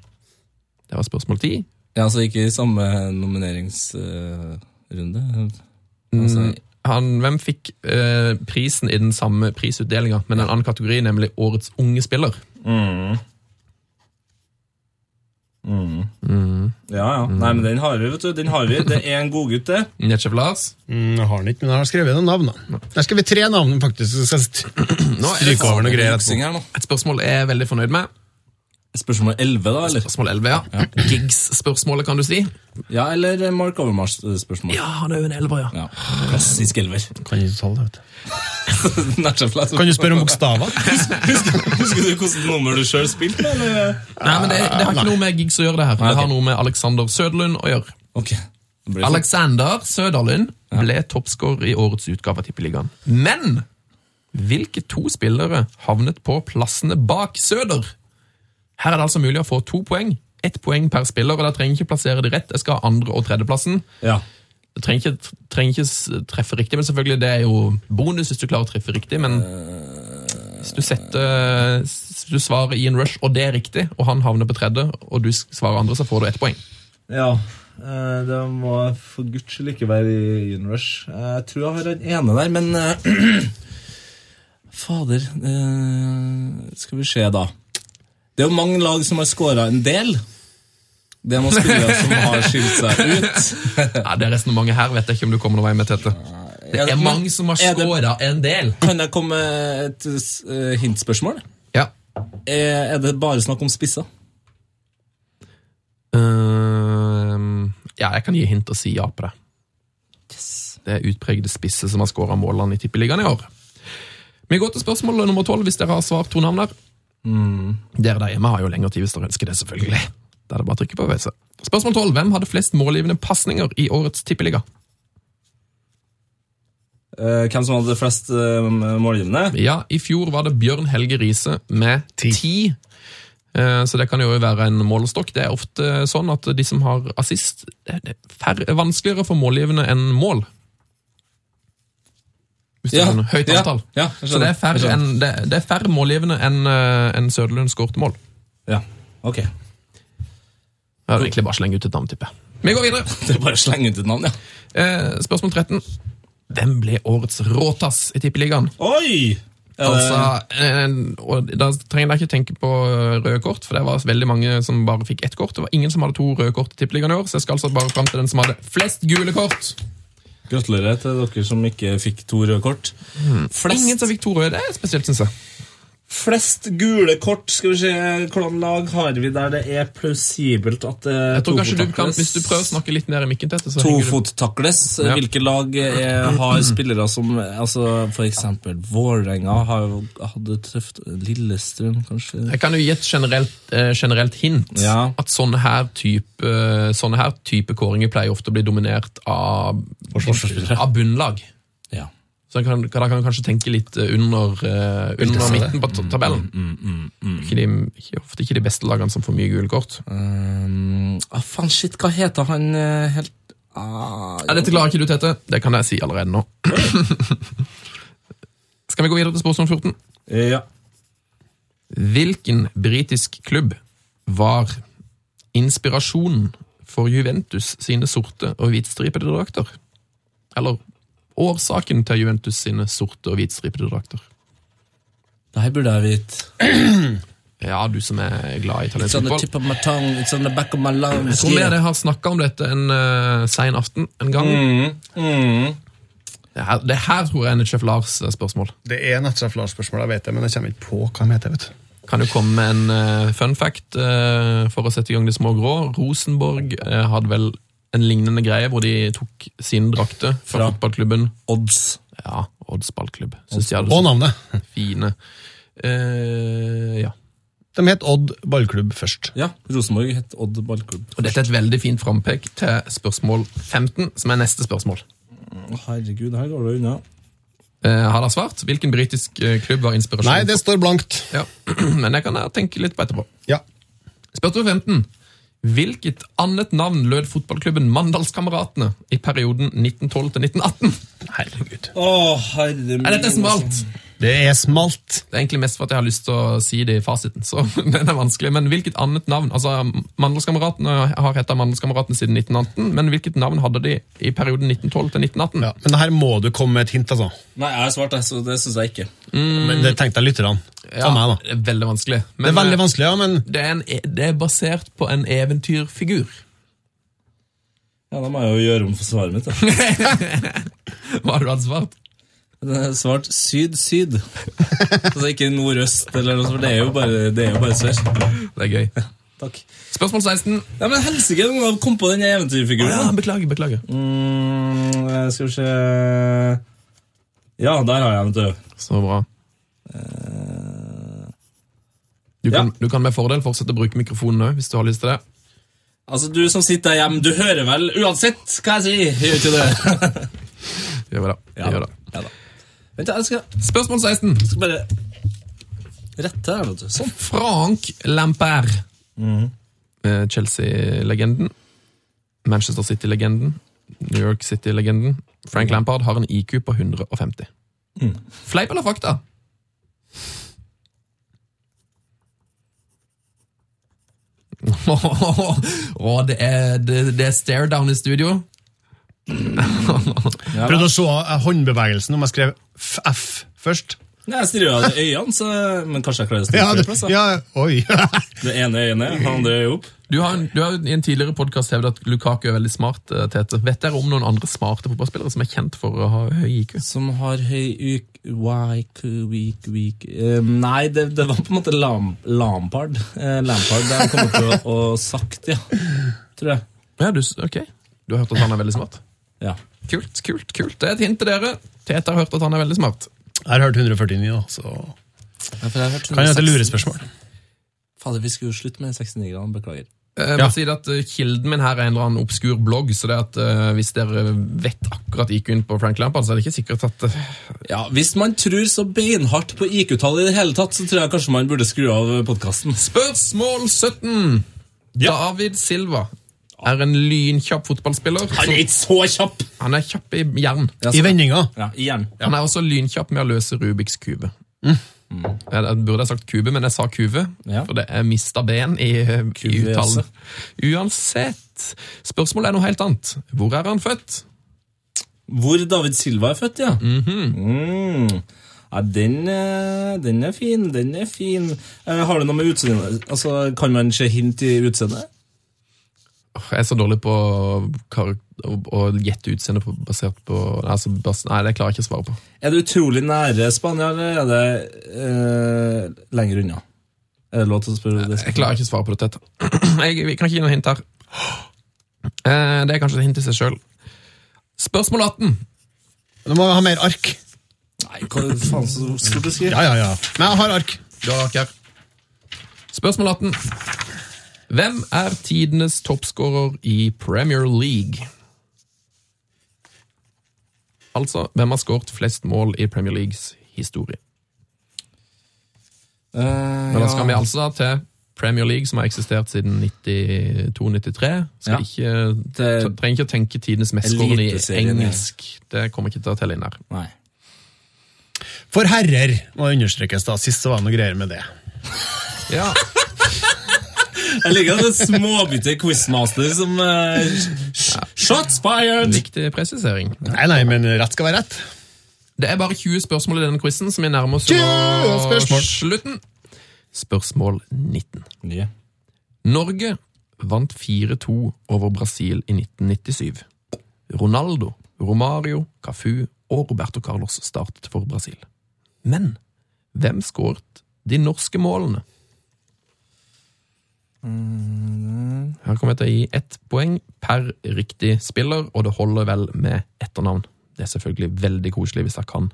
Speaker 4: Det var spørsmål ti.
Speaker 3: Ja, altså ikke i samme nomineringsrunde.
Speaker 5: Mm.
Speaker 3: altså,
Speaker 4: Mm, Han, hvem fikk øh, prisen i den samme prisutdelinga, men en annen kategori, nemlig årets unge spiller?
Speaker 3: ja, ja. Nei, men den har vi, vet du. Den har vi. Det er en godgutt, det.
Speaker 4: Netsjef Lars.
Speaker 5: Mm, jeg har den ikke, men jeg har skrevet noen navn. da. Jeg har skrevet tre navn, faktisk. så Skal jeg st-
Speaker 4: Nå er det
Speaker 5: stryke over noe greier
Speaker 3: Boksing
Speaker 5: etterpå.
Speaker 3: her nå.
Speaker 4: et spørsmål jeg er veldig fornøyd med.
Speaker 3: Spørsmål 11, da, eller?
Speaker 4: Spørsmål 11, ja. Gigs-spørsmålet, kan du si.
Speaker 3: Ja, eller Mark Overmars-spørsmål.
Speaker 4: Ja, Ah, han er jo en elver, ja.
Speaker 3: Ja. Klassisk elver.
Speaker 5: Kan ikke tall, vet du.
Speaker 3: Nærsjefla.
Speaker 5: Kan du spørre om bokstaver?
Speaker 3: Husker du hvilket nummer du sjøl spilte med? eller?
Speaker 4: Nei, men det, det har ikke noe med gigs å gjøre, det her. Det
Speaker 3: ok.
Speaker 4: har noe med Alexander Søderlund å gjøre.
Speaker 3: Ok. Det blir sånn.
Speaker 4: Alexander Søderlund ble toppskårer i årets utgave av Tippeligaen. Men hvilke to spillere havnet på plassene bak Søder? Her er det altså mulig å få to poeng. Ett poeng per spiller, og da trenger jeg ikke plassere de rett. Jeg skal ha andre- og tredjeplassen.
Speaker 3: Ja.
Speaker 4: Jeg trenger ikke, trenger ikke s- treffe riktig, men selvfølgelig det er jo bonus hvis du klarer å treffe riktig, men Hvis du setter hvis du svarer i en rush, og det er riktig, og han havner på tredje, og du svarer andre, så får du ett poeng.
Speaker 3: Ja. eh, Det må for guds skyld ikke være i Inrush. Jeg tror jeg har den ene der, men eh, Fader eh, Skal vi se, da. Det er jo mange lag som har scora en del. Det er noen spillere som har skilt seg ut.
Speaker 4: Ja, det resonnementet her vet jeg ikke om du kommer noen vei med, Tete. Det
Speaker 3: Ja,
Speaker 4: er
Speaker 3: men
Speaker 4: mange som har
Speaker 3: er det-
Speaker 4: skåra en del.
Speaker 3: Kan jeg komme med et eh, hintspørsmål?
Speaker 4: Ja.
Speaker 3: Eh, Er det bare snakk om spisser?
Speaker 4: Ehm, ja, jeg kan gi hint og si ja på det. Det er utpregede spisse som har skåra målene i Tippeligaen i år. Vi går til spørsmål nummer tolv, hvis dere har svart to navn der. Dere der hjemme har jo lengre tid hvis dere ønsker det, selvfølgelig. Da er det bare å trykke på pause. Spørsmål tolv. Hvem hadde flest målgivende pasninger i årets Tippeliga?
Speaker 3: Eh, Hvem som hadde flest eh, målgivende?
Speaker 4: Ja, i fjor var det Bjørn Helge Riise med ti. Eh, Så det kan jo være en målestokk. Det er ofte sånn at de som har assist, det er færre, vanskeligere for målgivende enn mål. Hvis du
Speaker 3: Ja,
Speaker 4: skjønner. Høyt
Speaker 3: ja,
Speaker 4: antall.
Speaker 3: ja, jeg skjønner,
Speaker 4: Så det er færre,
Speaker 3: jeg skjønner.
Speaker 4: enn- det, det er færre målgivende enn eh, enn Søderlund skårte mål.
Speaker 3: Ja, ok.
Speaker 4: Jeg hadde egentlig bare slengt ut et navn, tipper jeg. Vi går videre.
Speaker 3: Det er bare å slenge ut et navn, ja.
Speaker 4: Eh, Spørsmål 13. Hvem ble årets råtass i Tippeligaen?
Speaker 3: Oi! Er det-
Speaker 4: Altså, eh, og Da trenger dere ikke tenke på eh, røde kort, for det var veldig mange som bare fikk ett kort. Det var ingen som hadde to røde kort i Tippeligaen i år, så jeg skal altså bare fram til den som hadde flest gule kort.
Speaker 3: Gratulerer til dere som ikke fikk to røde kort.
Speaker 4: Ingen
Speaker 3: Flest,
Speaker 4: som fikk to røde, det er spesielt, synes jeg.
Speaker 3: flest gule kort. Skal vi se hvordan lag har vi der det er plausibelt at eh, det
Speaker 4: Jeg tror kanskje du kan,
Speaker 3: tofottakles?
Speaker 4: Hvis du prøver å snakke litt ned i mikken, Tete, så henger du
Speaker 3: Tofottakles.
Speaker 4: Ja.
Speaker 3: Hvilke eh, lag er, har spillere som altså, For eksempel Vålerenga har jo hatt det tøft. Lillestrøm, kanskje?
Speaker 4: Jeg kan jo gi et generelt, eh, generelt hint.
Speaker 3: Ja.
Speaker 4: At sånne her, type, eh, sånne her type kåringer pleier ofte å bli dominert av,
Speaker 3: Forsvarsspillere.
Speaker 4: av bunnlag.
Speaker 3: Ja.
Speaker 4: Så da kan, da kan man kanskje tenke litt eh, under, eh, under midten på ta- tabellen. mm, Ikke de, ikke, ofte ikke de beste lagene som får mye gule kort.
Speaker 3: Um, ah, faen, shit, hva heter han eh, helt ah,
Speaker 4: Nei, dette klarer ikke du, Tete. Det kan jeg si allerede nå. Skal vi gå videre til spørsmål 14?
Speaker 3: Ja.
Speaker 4: Hvilken britisk klubb var inspirasjonen for Juventus sine sorte og hvitstripede drakter? Eller årsaken til Juventus sine sorte og hvitstripede drakter?
Speaker 3: Det her burde jeg vite.
Speaker 4: Ja, du som er glad i
Speaker 3: It's
Speaker 4: italiensk
Speaker 3: on the
Speaker 4: fotball.
Speaker 3: tip of my tongue, it's on the back of my lungs.
Speaker 4: Jeg tror vi dere har snakka om dette en eh, sen aften en gang.
Speaker 5: Mm.
Speaker 3: Mm.
Speaker 4: Det, her, det her tror jeg er Netchef Lars-spørsmål.
Speaker 5: Det er Natcha Flars-spørsmål, jeg vet det, men jeg kommer ikke på hva han heter. vet du.
Speaker 4: Kan jo komme med en eh, fun fact eh, for å sette i gang de små grå. Rosenborg eh, hadde vel en lignende greie hvor de tok sine drakter fra
Speaker 3: Fra?
Speaker 4: fotballklubben.
Speaker 3: Odds.
Speaker 4: Ja, Odds ballklubb. Syns de hadde
Speaker 5: Og
Speaker 4: så
Speaker 5: navnet.
Speaker 4: fine eh, Ja.
Speaker 5: De het Odd ballklubb først.
Speaker 3: Ja, Rosenborg het Odd ballklubb.
Speaker 4: Og dette er et veldig fint frampek til spørsmål 15, som er neste spørsmål.
Speaker 3: Herregud, her går det unna.
Speaker 4: Eh, har dere svart? Hvilken britisk eh, klubb var inspirasjonen?
Speaker 5: Nei, det står blankt.
Speaker 4: Ja, men jeg kan tenke litt på etterpå.
Speaker 5: Ja.
Speaker 4: Spørsmål 15. Hvilket annet navn lød fotballklubben Mandalskameratene i perioden 1912 til 1918?
Speaker 5: Herregud.
Speaker 3: Å, herre min
Speaker 4: Er dette smalt?
Speaker 5: Det er smalt.
Speaker 4: Det er egentlig mest for at jeg har lyst til å si det i fasiten, så den er vanskelig. Men hvilket annet navn? Altså, Mandelskameratene har hetta Mandelskameratene siden 1918, men hvilket navn hadde de i perioden 1912 til 1918?
Speaker 5: Ja, men her må du komme med et hint, altså.
Speaker 3: Nei, jeg har svart, jeg, så det syns jeg ikke.
Speaker 5: Men det tenkte jeg lytterne. Ta meg, da.
Speaker 4: det er veldig vanskelig.
Speaker 5: Det
Speaker 4: Men,
Speaker 5: er veldig
Speaker 4: eh,
Speaker 5: vanskelig, ja, Mm. men
Speaker 4: Det er, en, e- det er basert på en eventyrfigur.
Speaker 3: Ja, Da må jeg jo gjøre om for svaret mitt. da.
Speaker 4: Hva har du hatt svart?
Speaker 3: Det er Svart syd-syd. Altså ikke nordøst eller noe sånt, for det er jo bare, det er jo bare sør.
Speaker 4: Det er gøy.
Speaker 3: Takk.
Speaker 4: Spørsmål 16.
Speaker 3: Nei, men Helsike, noen har kommet på den eventyrfiguren.
Speaker 4: Ja, beklager, beklager.
Speaker 3: Mm, eh, skal vi se Ja, der har jeg den, vet du.
Speaker 4: Så bra. Du kan, du kan med fordel fortsette å bruke mikrofonen òg, hvis du har lyst til det.
Speaker 3: Altså, du som sitter der hjemme, du hører vel uansett hva jeg sier? Gjør ikke det?
Speaker 4: Gjør vi det. Gjør vi det.
Speaker 3: Ja da. Vent, jeg skal
Speaker 4: Spørsmål 16.
Speaker 3: skal bare rette her, vet du. Sånn.
Speaker 4: Frank Lampert. Eh, Chelsea-legenden. Manchester City-legenden. New York City-legenden. Frank Lampard har en IQ på 150. Fleip eller fakta? Åh, det er, det, det er stare down i studio.
Speaker 5: Prøvde å se eh, håndbevegelsen om jeg skrev f- F først.
Speaker 3: Nei, Jeg stirrer jo av det øynene, så, men kanskje jeg klarer å
Speaker 5: Ja,
Speaker 3: stirre
Speaker 5: det,
Speaker 3: flere plasser.
Speaker 5: ja oi.
Speaker 3: Det ene øyet ned, det andre øyet opp.
Speaker 4: Du har, en- du har i en tidligere podkast hevdet at Lukaku er veldig smart. eh, Tete. Vet dere om noen andre smarte fotballspillere som er kjent for å ha høy IQ?
Speaker 3: Som har høy uk... Wike, weak, weak Eh, Nei, det, det var på en måte lam, Lampard. Eh, Lampard der kom til å, å sagt, ja. Tror jeg.
Speaker 4: Ja, du, s- ok. Du har hørt at han er veldig smart?
Speaker 3: Ja.
Speaker 4: Kult, kult, kult. Det er et hint til dere. Tete har hørt at han er veldig smart.
Speaker 5: Jeg har hørt 149, da, så
Speaker 3: Ja, for jeg har hørt
Speaker 5: kan hende det er
Speaker 3: 160.
Speaker 5: lurespørsmål.
Speaker 3: Fader, vi skulle jo slutte med 69-gradene, beklager.
Speaker 4: Jeg må si det at eh, Kilden min her er en eller annen obskur blogg, så det at eh, hvis dere vet akkurat IQ-en på Frank Lampard, så er det ikke sikkert at eh,
Speaker 3: Ja, Hvis man tror så beinhardt på IQ-tall i det hele tatt, så tror jeg kanskje man burde skru av podkasten.
Speaker 4: Spørsmål 17! David Silva er en lynkjapp fotballspiller.
Speaker 3: Han er
Speaker 4: som-
Speaker 3: ikke så kjapp!
Speaker 4: han er kjapp i jern.
Speaker 5: I vendinga.
Speaker 3: Ja, igjen.
Speaker 4: Han er også lynkjapp med å løse Rubiks kube. Jeg, jeg burde ha sagt kube, men jeg sa kuve,
Speaker 3: Ja.
Speaker 4: for det er mista ben i, eh, i
Speaker 3: Kuvøse.
Speaker 4: uttalen. Uansett, spørsmålet er noe helt annet. Hvor er han født?
Speaker 3: Hvor David Silva er født, ja. Mm. Ja, den, eh, den er fin, den er fin. Eh, Har det noe med utseendet Altså, Kan man se hint i utseendet?
Speaker 4: Åh, Jeg er så dårlig på kar- å å gjette utseende på, basert på altså, bas, Nei, det klarer jeg ikke å svare på.
Speaker 3: Er det utrolig nære Spania, eller er det eh, lenger unna? Er det lov til å spørre det?
Speaker 4: Jeg klarer ikke å svare på det, Tete. Jeg, vi kan ikke gi noe hint her. Eh, Det er kanskje et hint i seg sjøl. Spørsmål 18.
Speaker 5: Du må ha mer ark.
Speaker 3: Nei, hva faen så stort å skrive?
Speaker 5: Ja, ja, ja. Men jeg har ark.
Speaker 4: Du har Aker. Spørsmål 18. Hvem er tidenes toppskårer i Premier League? Altså, hvem har skåret flest mål i Premier Leagues historie?
Speaker 3: Eh,
Speaker 4: Men da skal vi altså da til Premier League, som har eksistert siden 92-93. Skal
Speaker 3: Ja.
Speaker 4: ikke,
Speaker 3: Det-
Speaker 4: trenger ikke å tenke tidenes mestskårende i
Speaker 3: Eliteserien, ja.
Speaker 4: engelsk. Det kommer ikke til å telle inn her.
Speaker 3: Nei.
Speaker 5: For herrer må understrekes, da. Sist så var det noe greier med det.
Speaker 4: Ja,
Speaker 3: Jeg liker at det er småbitte quizmaster som eh, sh- Shots fired!
Speaker 4: Viktig presisering.
Speaker 5: Nei, nei, men rett skal være rett.
Speaker 4: Det er bare 20 spørsmål i denne quizen, som vi nærmer oss
Speaker 5: 20
Speaker 4: nå
Speaker 5: spørsmål.
Speaker 4: slutten. Spørsmål 19.
Speaker 3: Ja.
Speaker 4: Norge vant 4-2 over Brasil i 1997. Ronaldo, Romario, Cafu og Roberto Carlos startet for Brasil. Men hvem skåret de norske målene? Her kommer jeg til å gi ett poeng per riktig spiller, og det holder vel med etternavn. Det er selvfølgelig veldig koselig hvis jeg kan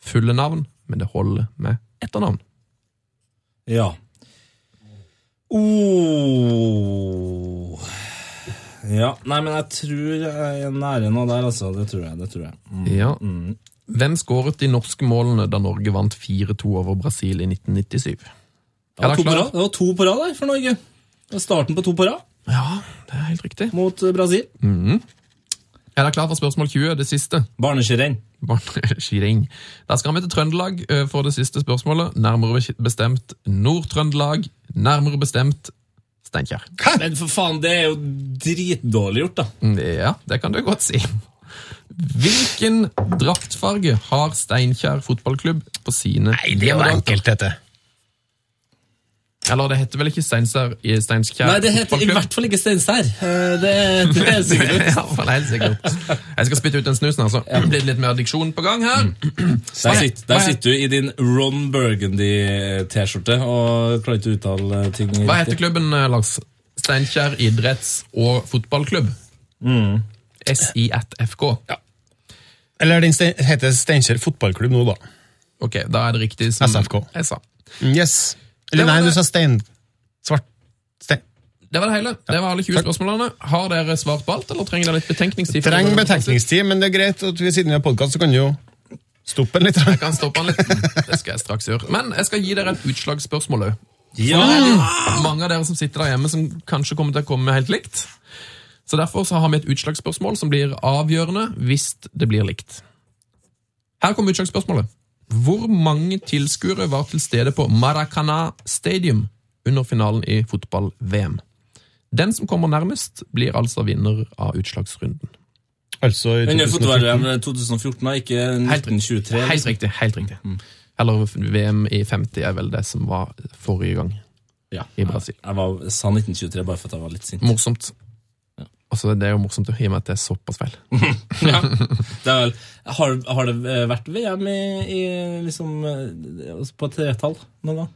Speaker 4: fulle navn, men det holder med etternavn.
Speaker 3: Ja. Oh. Ja, nei, men jeg tror jeg er nære nå der, altså. Det tror jeg. det tror jeg. Mm.
Speaker 4: Ja. Hvem skåret de norske målene da Norge vant 4-2 over Brasil i 1997?
Speaker 3: Det, var
Speaker 4: Er dere
Speaker 3: to på
Speaker 4: klare?
Speaker 3: rad. det var to på rad der for Norge. Det var starten på to på rad
Speaker 4: Ja, det er helt riktig.
Speaker 3: mot eh, Brasil.
Speaker 4: Er dere klar for spørsmål 20, det siste?
Speaker 3: Barneskirenn.
Speaker 4: Skiring. Da skal vi til Trøndelag eh, for det siste spørsmålet. Nærmere bestemt Nord-Trøndelag. Nærmere bestemt Steinkjer.
Speaker 3: Men for faen, det er jo dritdårlig gjort, da.
Speaker 4: Mm, Ja, det kan du godt si. Hvilken draktfarge har Steinkjer fotballklubb på sine hjemmedrakter?
Speaker 5: dette.
Speaker 4: Eller det heter vel ikke Steinkjer i Steinkjer
Speaker 3: Nei, det heter i
Speaker 4: fotballklubb?
Speaker 3: hvert fall ikke Steinkjer. Eh, Det, det er sikkert.
Speaker 4: Ja, for det er helt sikkert. Jeg skal spytte ut den snusen, altså. Blir det litt mer diksjon på gang her?
Speaker 3: Der, sitter, der
Speaker 4: Hva er-
Speaker 3: sitter du i din Ron Burgundy-T-skjorte og klarer ikke å uttale ting
Speaker 4: Hva heter klubben, eh, Lars? Steinkjer idretts- og fotballklubb. SIFK.
Speaker 5: Eller den stein, heter Steinkjer fotballklubb nå, da.
Speaker 4: Ok, da er det riktig som
Speaker 5: SFK.
Speaker 4: jeg sa.
Speaker 5: Yes. Eller
Speaker 4: Det var
Speaker 5: nei,
Speaker 4: det.
Speaker 5: du sa stein... Svart... Stein...
Speaker 4: Det var det hele. Det var alle 20 spørsmålene. Har dere svart på alt, eller trenger dere litt betenkningstid? for å-
Speaker 5: Trenger betenkningstid, men det er greit at vi siden vi har podkast, så kan du jo stoppe den litt.
Speaker 4: Jeg kan stoppe han litt. Det skal jeg straks gjøre. Men jeg skal gi dere et utslagsspørsmål òg.
Speaker 3: Ja,
Speaker 4: mange av dere som sitter der hjemme som kanskje kommer til å komme helt likt. Så derfor så har vi et utslagsspørsmål som blir avgjørende hvis det blir likt. Her kommer utslagsspørsmålet. Hvor mange tilskuere var til stede på Maracana Stadium under finalen i fotball-VM? Den som kommer nærmest, blir altså vinner av utslagsrunden.
Speaker 5: Altså i
Speaker 3: Under
Speaker 5: 2014.
Speaker 3: fotball-VM 2014, eh, da, ikke
Speaker 4: Helt-
Speaker 3: 1923.
Speaker 4: Helt riktig. helt riktig. Eller VM i 50 er vel det som var forrige gang
Speaker 3: Ja.
Speaker 4: i Brasil.
Speaker 3: Jeg var, sa 1923 bare for at jeg var litt sint.
Speaker 4: Morsomt. Altså, det er jo morsomt i og med at det er såpass feil.
Speaker 3: Ja. Det er vel, har, har det eh, vært VM i, i liksom eh, altså på tretall noen gang?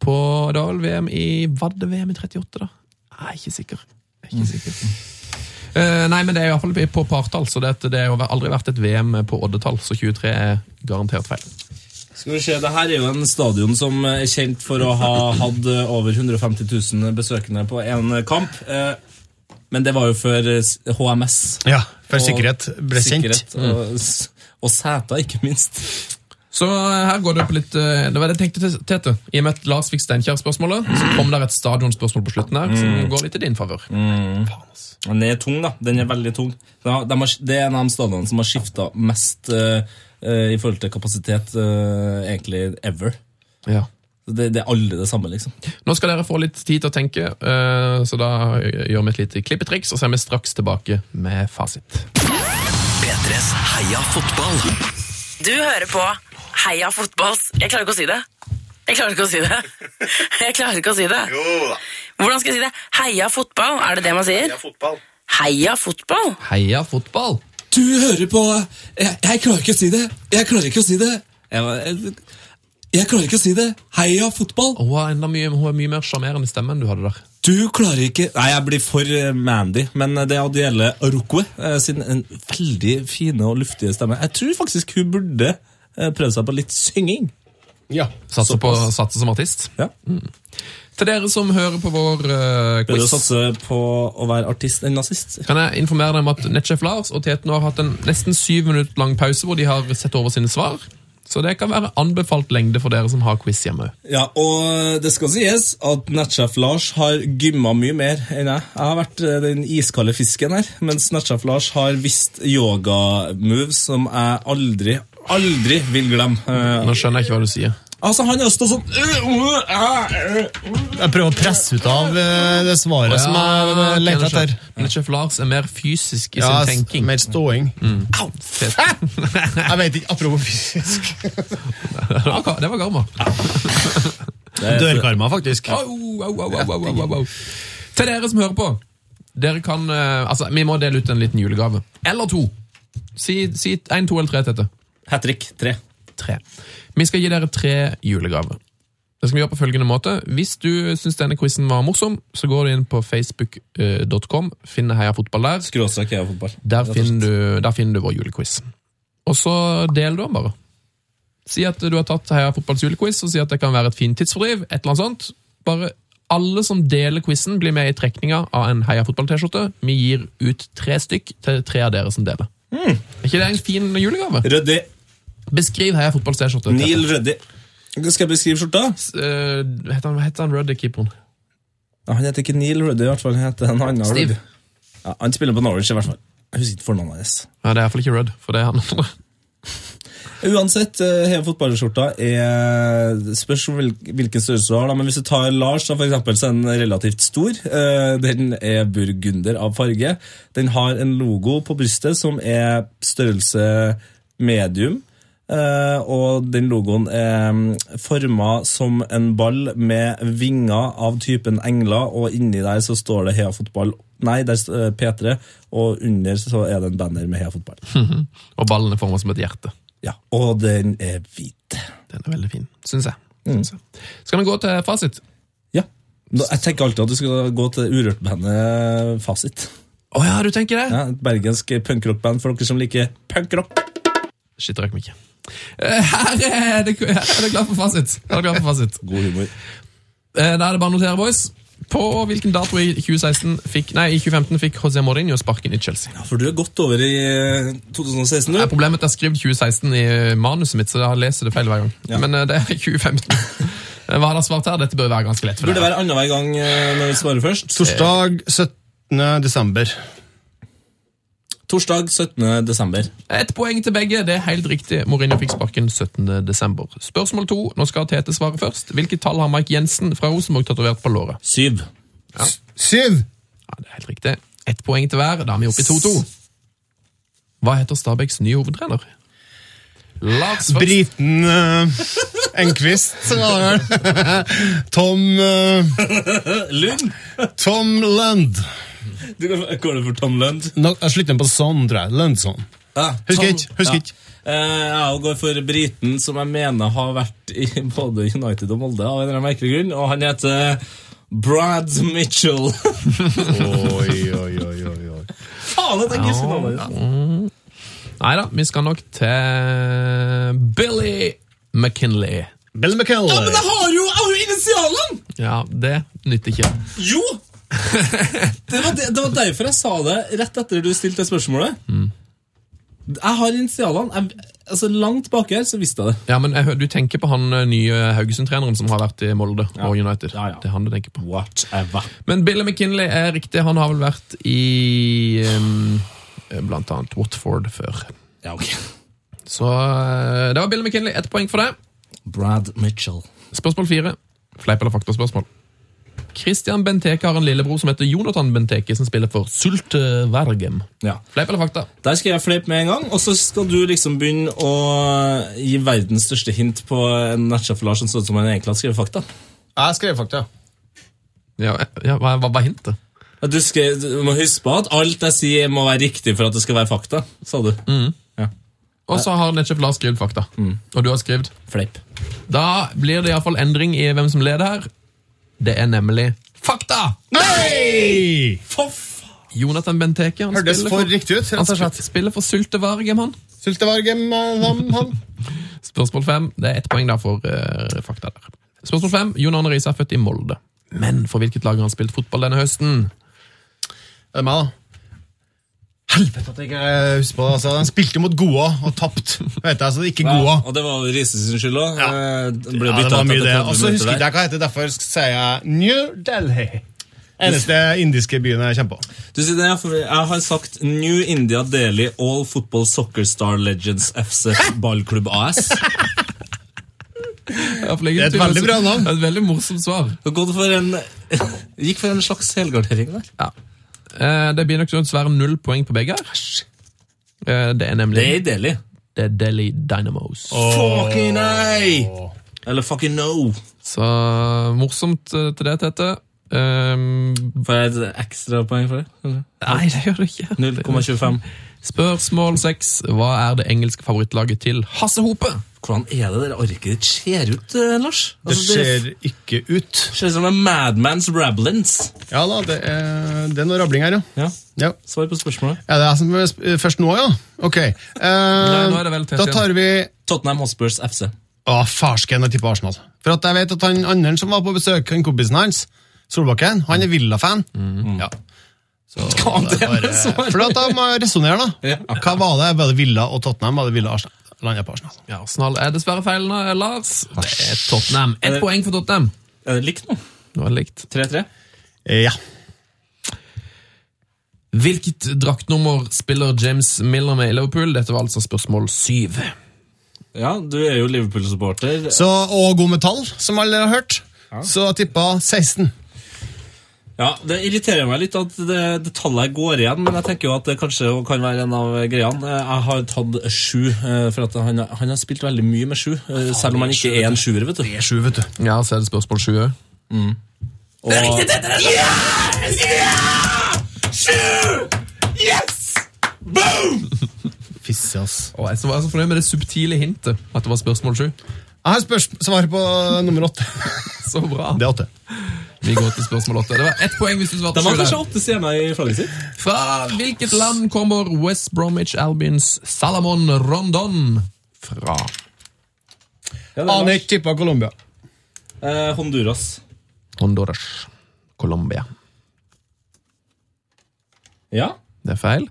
Speaker 4: På det var vel VM i Var det VM i 38, da? Jeg er ikke sikker. Jeg er ikke sikker. Eh, nei, men det er i hvert fall på partall, så det, at det har aldri vært et VM på oddetall, så 23 er garantert feil.
Speaker 3: Skal vi se, det her er jo en stadion som er kjent for å ha hatt eh, over 150 000 besøkende på én kamp. eh, Men det var jo før eh, s- HMS.
Speaker 5: Ja, for
Speaker 3: og
Speaker 5: sikkerhet ble kjent. Mm.
Speaker 3: sikkerhet Og, s- og seter, ikke minst.
Speaker 4: Så eh, her går det på litt eh, Det var det jeg tenkte, til- Tete. I og med at Lars fikk Steinkjer-spørsmålet, så kom der et stadionspørsmål på slutten her som går litt i din favør. Faen, ass.
Speaker 3: Den er tung, da. Den er veldig tung. Den har, de har, det er en av de stadionene som har skifta mest eh, eh, i forhold til kapasitet eh, egentlig ever.
Speaker 4: Ja.
Speaker 3: Det, det er aldri det samme, liksom.
Speaker 4: Nå skal dere få litt tid til å tenke, eh, så da gjør vi et lite klippetriks, og så er vi straks tilbake med fasit.
Speaker 2: P3s Heia fotball.
Speaker 6: Du hører på Heia fotballs Jeg klarer ikke å si det. Jeg klarer ikke å si det. Jeg klarer ikke å si det.
Speaker 7: Jo da.
Speaker 6: Hvordan skal jeg si det? Heia fotball, er det det man sier?
Speaker 7: Det er fotball.
Speaker 6: Heia fotball?
Speaker 4: Heia fotball!
Speaker 3: Du hører på jeg, jeg klarer ikke å si det. Jeg klarer ikke å si det. Jeg, jeg, jeg klarer ikke å si det. Heia fotball.
Speaker 4: Hun har, enda mye, hun har mye mer sjarmerende stemme enn du hadde der.
Speaker 3: Du klarer ikke Nei, jeg blir for eh, Mandy, men det er Adiele Arokwe eh, sin en veldig fine og luftige stemme. Jeg tror faktisk hun burde eh, prøve seg på litt synging.
Speaker 5: Ja.
Speaker 4: Satser, på, satser som artist.
Speaker 3: Ja.
Speaker 4: Til dere som hører på vår eh,
Speaker 3: Prøve å
Speaker 4: quiz,
Speaker 3: satse på å være artist enn nazist.
Speaker 4: kan jeg informere deg om at Netchef Lars og Teten har hatt en nesten syv minutter lang pause hvor de har sett over sine svar. Så det kan være anbefalt lengde for dere som har quiz hjemme.
Speaker 3: Ja, og det skal sies at Natchef Lars har gymma mye mer enn jeg. Jeg har vært eh, den iskalde fisken her, mens Natchef Lars har visst yoga-moves som jeg aldri, aldri vil glemme. Eh,
Speaker 4: Nå skjønner jeg ikke hva du sier.
Speaker 3: altså, han har stått sånn øh, øh, øh, øh.
Speaker 5: Jeg prøver å presse ut av eh, det svaret som jeg eh, leter etter.
Speaker 4: Netchef Lars er mer fysisk i sin
Speaker 5: Ja, s-
Speaker 4: tenking.
Speaker 5: mer ståing.
Speaker 4: Teten.
Speaker 5: Jeg vet ikke, apropos fysisk.
Speaker 4: Det var ga- Det var gamma.
Speaker 3: øh.
Speaker 5: Dørkarma, faktisk.
Speaker 4: Au, au, au, au, au, au, au. Til dere som hører på. Dere kan, eh, altså, Vi må dele ut en liten julegave. Eller to. Si, si en, to eller tre til dette.
Speaker 3: Hat trick tre.
Speaker 4: Tre. Vi skal gi dere tre julegaver. Det skal vi gjøre på følgende måte. Hvis du syns denne quizen var morsom, så går du inn på facebook.com, finner Heia fotball der.
Speaker 3: Skråstrek er fotball.
Speaker 4: Der finner du, der finner du vår julequiz. Og så del du den bare. Si at du har tatt Heia fotballs julequiz, og si at det kan være et fint tidsfordriv. et eller annet sånt. Bare alle som deler quizen, blir med i trekninga av en Heia fotball-T-skjorte. Vi gir ut tre stykk til tre av dere som deler.
Speaker 3: Hmm.
Speaker 4: Er ikke det en fin julegave?
Speaker 3: Ryddig.
Speaker 4: Beskriv Heia fotballs T-skjorte.
Speaker 3: Neil Ruddy. Skal jeg beskrive skjorta?
Speaker 4: Eh, heter han, hva heter han Ruddy-keeperen?
Speaker 3: Ja, Han heter ikke Neil Ruddy, i hvert fall. Han heter en annen
Speaker 4: Steve.
Speaker 3: Ruddy. Ja, han spiller på Norwich, i hvert fall. Jeg husker ikke fornavnet hans.
Speaker 4: Ja, det er iallfall ikke Rudd, for det er han andre.
Speaker 3: Uansett, eh, hele fotballskjorta er spørs om hvil- hvilken størrelse du har. da, Men hvis du tar Lars, da, for eksempel, så er den relativt stor. Eh, Den er burgunder av farge. Den har en logo på brystet som er størrelse medium. eh, Og den logoen er mm, forma som en ball med vinger av typen engler, og inni der så står det Hea Fotball. Nei, der står P3, og under så er det en banner med Hea Fotball.
Speaker 4: Og ballen er forma som et hjerte.
Speaker 3: Ja, Og den er hvit.
Speaker 4: Den er veldig fin, syns jeg.
Speaker 3: Hmm.
Speaker 4: Synes jeg. Skal vi gå til fasit?
Speaker 3: Ja. Nå, jeg tenker alltid at du skal gå til Urørt-bandet Fasit.
Speaker 4: Å ja, du tenker det?
Speaker 3: Ja, et bergensk punkrockband for dere som liker punkrock.
Speaker 4: Shit, det rakk vi ikke. Eh, Her er det, her er det klart for fasit. Her er det klart for fasit.
Speaker 3: God humor.
Speaker 4: Eh, Da er det bare å notere, boys. På hvilken dato i 2016 fikk, nei, i 2015 fikk José Mourinho sparken i Chelsea?
Speaker 3: Ja, For du er godt over i eh, 2016,
Speaker 4: Nei,
Speaker 3: du.
Speaker 4: problemet er at jeg skrev 2016 i manuset mitt, så jeg leser det feil hver gang. Men eh, det er 2015. Hva har dere svart her? Dette bør være ganske lett for
Speaker 3: Burde
Speaker 4: dere.
Speaker 3: være annenhver gang eh, når vi svarer først.
Speaker 5: Torsdag 17. desember.
Speaker 3: Torsdag 17. desember.
Speaker 4: Et poeng til begge. Det er helt riktig. Mourinho fikk sparken 17. desember. Spørsmål to. Nå skal Tete svare først. Hvilket tall har Mike Jensen fra Rosenborg tatovert på låret?
Speaker 3: Syv.
Speaker 5: Syv!
Speaker 4: Ja, det er helt riktig. Ett poeng til hver. Da er vi oppe i 2-2. Hva heter Stabæks nye hovedtrener? Lars først.
Speaker 5: Briten uh, Enquist var det vel. Tom eh,
Speaker 3: Lund?
Speaker 5: Tom Lund.
Speaker 3: Du kan, går det for Tom Lund?
Speaker 5: Nå, jeg slutter på sånn, tror jeg. Lundson.
Speaker 3: Ja,
Speaker 5: Husker
Speaker 3: Tom-
Speaker 5: ikke, husker ikke.
Speaker 3: Ja. Eh, jeg går for briten, som jeg mener har vært i både United og Molde, av en eller annen merkelig grunn, og han heter Brad Mitchell.
Speaker 5: Oi, oi, oi, oi, oi.
Speaker 3: Faen, jeg tenker ikke noe om det.
Speaker 4: Nei da, vi skal nok til Billy McKinley.
Speaker 5: Bill McKinley.
Speaker 3: Men jeg har jo, jeg har jo initialene!
Speaker 4: Ja, det nytter ikke.
Speaker 3: Jo! Det var, det, det var derfor jeg sa det rett etter du stilte det spørsmålet. Jeg har initialene. Jeg, altså, langt bak her så visste jeg det.
Speaker 4: Ja, men jeg, hø- Du tenker på han eh, nye Haugesund-treneren som har vært i Molde og United.
Speaker 3: Ja, ja.
Speaker 4: Det er han du tenker på.
Speaker 3: Whatever.
Speaker 4: Men Billy McKinley er riktig. Han har vel vært i um, blant annet Watford før.
Speaker 3: Ja, ok.
Speaker 4: Så eh, det var Billy McKinley. Ett poeng for det.
Speaker 3: Brad Mitchell.
Speaker 4: Spørsmål fire. Fleip eller fakta-spørsmål. Christian Benteke har en lillebror som heter Jonathan Benteke, som spiller for Sulte Vergem.
Speaker 3: Ja.
Speaker 4: Fleip eller fakta?
Speaker 3: Der skal jeg fleipe med en gang, og så skal du liksom begynne å gi verdens største hint på en nettsjef Lars som så ut sånn som han egentlig hadde skrevet fakta.
Speaker 5: Jeg skrev fakta.
Speaker 4: Ja, ja, hva, hva var hintet?
Speaker 3: At Du, skrev, du må huske på at alt jeg sier, må være riktig for at det skal være fakta, sa du.
Speaker 4: Og så har Netchef Lars skrevet fakta.
Speaker 5: Mm.
Speaker 4: Og du har skrevet.
Speaker 3: Fleip.
Speaker 4: Da blir det iallfall endring i hvem som leder her. Det er nemlig fakta!
Speaker 5: Nei!
Speaker 4: Jonathan Benteke. Han
Speaker 5: Hørtes
Speaker 4: spiller
Speaker 5: for riktig ut,
Speaker 4: Han
Speaker 5: rett og slett.
Speaker 4: sp- spiller for Sulte Vargem, han.
Speaker 5: Sultevargem, eh, ham, ham.
Speaker 4: Spørsmål fem. Det er ett poeng da for eh, fakta der. Spørsmål fem. Jon Arne Riise er født i Molde. Men for hvilket lag har han spilt fotball denne høsten?
Speaker 5: Er det meg, da? Helvete at jeg ikke eh, husker på det. Altså, den spilte mot Goa og tapt. Vet jeg, så det er ikke Goa.
Speaker 3: og det var jo Riise sin skyld òg.
Speaker 5: Ja.
Speaker 3: Ble
Speaker 5: Ja, det
Speaker 3: byttet
Speaker 5: var
Speaker 3: ut
Speaker 5: mye
Speaker 3: etter
Speaker 5: det.
Speaker 3: 30
Speaker 5: Og så
Speaker 3: minutter
Speaker 5: husker
Speaker 3: der.
Speaker 5: ikke jeg hva det heter, derfor sier jeg New Delhi. Eneste indiske byen jeg kommer på.
Speaker 3: Du sier det, ja, for Jeg har sagt New India Delhi All Football Soccer Star Legends FC Ballklubb AS.
Speaker 4: Ja, for legger
Speaker 5: Det er et veldig bra navn.
Speaker 4: Det er Et veldig morsomt svar.
Speaker 3: Du Gått for en, gikk for en slags helgardering der.
Speaker 4: Ja. Eh, Det blir nok dessverre null poeng på begge her. Eh, Det er
Speaker 3: Det
Speaker 4: nemlig
Speaker 3: er i Delhi.
Speaker 4: det er Delhi Dynamos.
Speaker 3: Fucking nei! Eller fucking no.
Speaker 4: Så morsomt eh, til det, Tete. Um,
Speaker 3: Får jeg et ekstrapoeng for det?
Speaker 4: nei, det gjør det ikke.
Speaker 3: 0,25.
Speaker 4: Spørsmål seks. Hva er det engelske favorittlaget til Hasse Hope?
Speaker 3: Hvordan er det dere arket ditt ser ut, eh, Lars?
Speaker 5: Det
Speaker 3: Altså,
Speaker 5: ser ikke ut.
Speaker 3: ser ut som en Madmans Rablins.
Speaker 5: Ja da, det er, det er noe rabling her, ja.
Speaker 3: Ja,
Speaker 5: ja.
Speaker 3: Svar på spørsmålet.
Speaker 5: Ja, det er jeg som er sp- eh, først nå, ja? Ok. Eh,
Speaker 4: nå er det vel tett
Speaker 5: da
Speaker 4: igjen.
Speaker 5: tar vi
Speaker 3: Tottenham Hotspurs FC.
Speaker 5: Å, farsken, jeg tipper Arsenal. For at jeg vet at han andre som var på besøk, han kompisen hans, Solbakken, han er Villa-fan. Ja.
Speaker 3: Hva er det med svar?
Speaker 5: For da må jeg resonnere, da. Hva var det? Var det Villa og Tottenham? Var det Villa og Arsenal? Landet på Arsenal.
Speaker 4: Ja, Arsenal er dessverre feil, nå, eh, Lars. Det er Tottenham. Ett poeng for Tottenham.
Speaker 3: Er det likt nå?
Speaker 4: Nå er det likt.
Speaker 3: 3-3?
Speaker 5: Eh, Ja.
Speaker 4: Hvilket draktnummer spiller James Miller med i Liverpool? Dette var altså spørsmål syv.
Speaker 3: Ja, du er jo Liverpool-supporter.
Speaker 5: Så, og god metall, som alle har hørt. Så jeg tippa 16.
Speaker 3: Ja, Det irriterer meg litt at det, det tallet her går igjen, men jeg tenker jo at det kanskje kan være en av greiene. Eh, Jeg har tatt sju, eh, for at han, han har spilt veldig mye med sju. eh, Selv om han ikke er en sjuer, vet du.
Speaker 5: Det er 7, vet du.
Speaker 4: Ja, så er det spørsmål sju òg.
Speaker 3: Og,
Speaker 5: Fisse, ass.
Speaker 4: Og jeg var så fornøyd med det subtile hintet at det var spørsmål sju.
Speaker 5: Jeg har spørsmål, svar på nummer 8.
Speaker 4: Så bra.
Speaker 5: Det er 8.
Speaker 4: Vi går til spørsmål åtte. Det var ett poeng hvis du svarte
Speaker 3: De har kanskje
Speaker 4: sju.
Speaker 3: åtte stjerner i flagget sitt.
Speaker 4: der. Fra hvilket land kommer West Bromwich Albions Salamon Rondon fra?
Speaker 3: Ja, det er
Speaker 5: Aner
Speaker 3: Lars.
Speaker 5: ikke tippa Colombia.
Speaker 3: Eh, Honduras.
Speaker 4: Honduras. Colombia.
Speaker 3: Ja.
Speaker 4: Det er feil.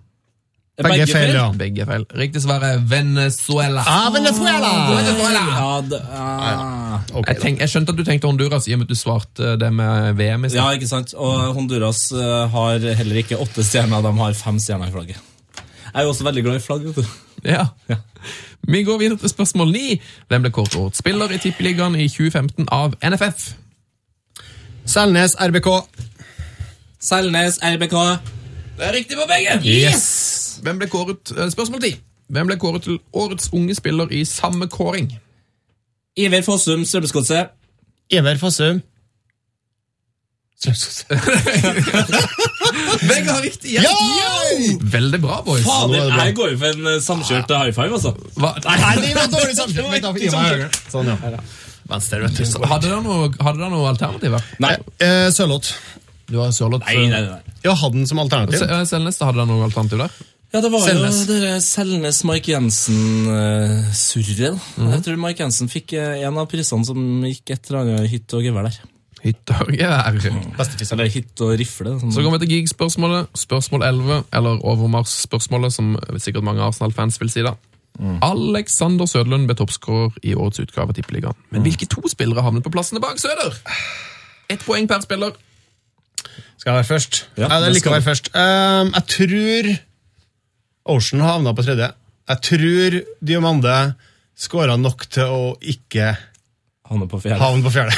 Speaker 5: Begge er feil, ja.
Speaker 4: Begge er feil. Riktig svar er Venezuela.
Speaker 5: Ah, Venezuela!
Speaker 4: Venezuela!
Speaker 3: Ja, det, ah.
Speaker 5: Ok,
Speaker 4: Jeg,
Speaker 5: da.
Speaker 4: tenk, jeg skjønte at du tenkte Honduras i og med at du svarte det med VM i
Speaker 3: ja,
Speaker 4: stad.
Speaker 3: ikke sant? Og Honduras eh, har heller ikke åtte stjerner, de har fem stjerner i flagget. Jeg er jo også veldig glad i flagg. vet du.
Speaker 4: Ja. Vi går videre til spørsmål ni. Hvem ble kåret til årets spiller i Tippeligaen i 2015 av NFF?
Speaker 5: Selnes RBK.
Speaker 3: Selnes, RBK.
Speaker 4: Det er riktig på begge!
Speaker 3: Yes!
Speaker 4: Hvem ble kåret, eh, spørsmål 10. Hvem ble kåret til årets unge spiller i samme kåring?
Speaker 3: Iver Fossum, Strømsgodset.
Speaker 5: Ivar Fossum.
Speaker 4: Begge har riktig! Ja! Veldig bra, boys.
Speaker 3: Fader, her går vi for en eh, samkjørt eh, high five, altså.
Speaker 4: Hva?
Speaker 5: Nei, det var dårlig samspill. Vent da, Ivar er høyre. Sånn, ja. Venstre, vet du.
Speaker 4: Hadde dere noe, hadde dere noe alternativer?
Speaker 5: Nei, eh, Sørloth.
Speaker 4: Du har Sørloth.
Speaker 3: Nei, nei, nei.
Speaker 5: Ja, hadde den som alternativ.
Speaker 4: Se- eh, Selnes, da hadde dere noe alternativ der?
Speaker 3: Ja, det var
Speaker 4: Selnes.
Speaker 3: jo dere Selnes Mike Jensen-surret. Jeg tror Mike Jensen fikk eh, en av prisene som gikk et eller annet hytt og gevær der.
Speaker 4: Hytte og gevær.
Speaker 3: Eller hytt og rifle. Sånn.
Speaker 4: Så kommer vi til gig-spørsmålet, spørsmål 11, eller overmarsj-spørsmålet, som sikkert mange Arsenal-fans vil si da. Alexander Søderlund ble toppskårer i årets utgave av Tippeligaen. Men hvilke to spillere havnet på plassene bak Søder? Ett poeng per spiller.
Speaker 5: Skal jeg være først?
Speaker 3: Ja,
Speaker 5: Nei, det
Speaker 3: det
Speaker 5: liker å være først. Ehm, jeg tror Ocean havna på tredje. Jeg tror Diomande skåra nok til å ikke
Speaker 3: Han er på fjerde.
Speaker 5: havne på fjerde.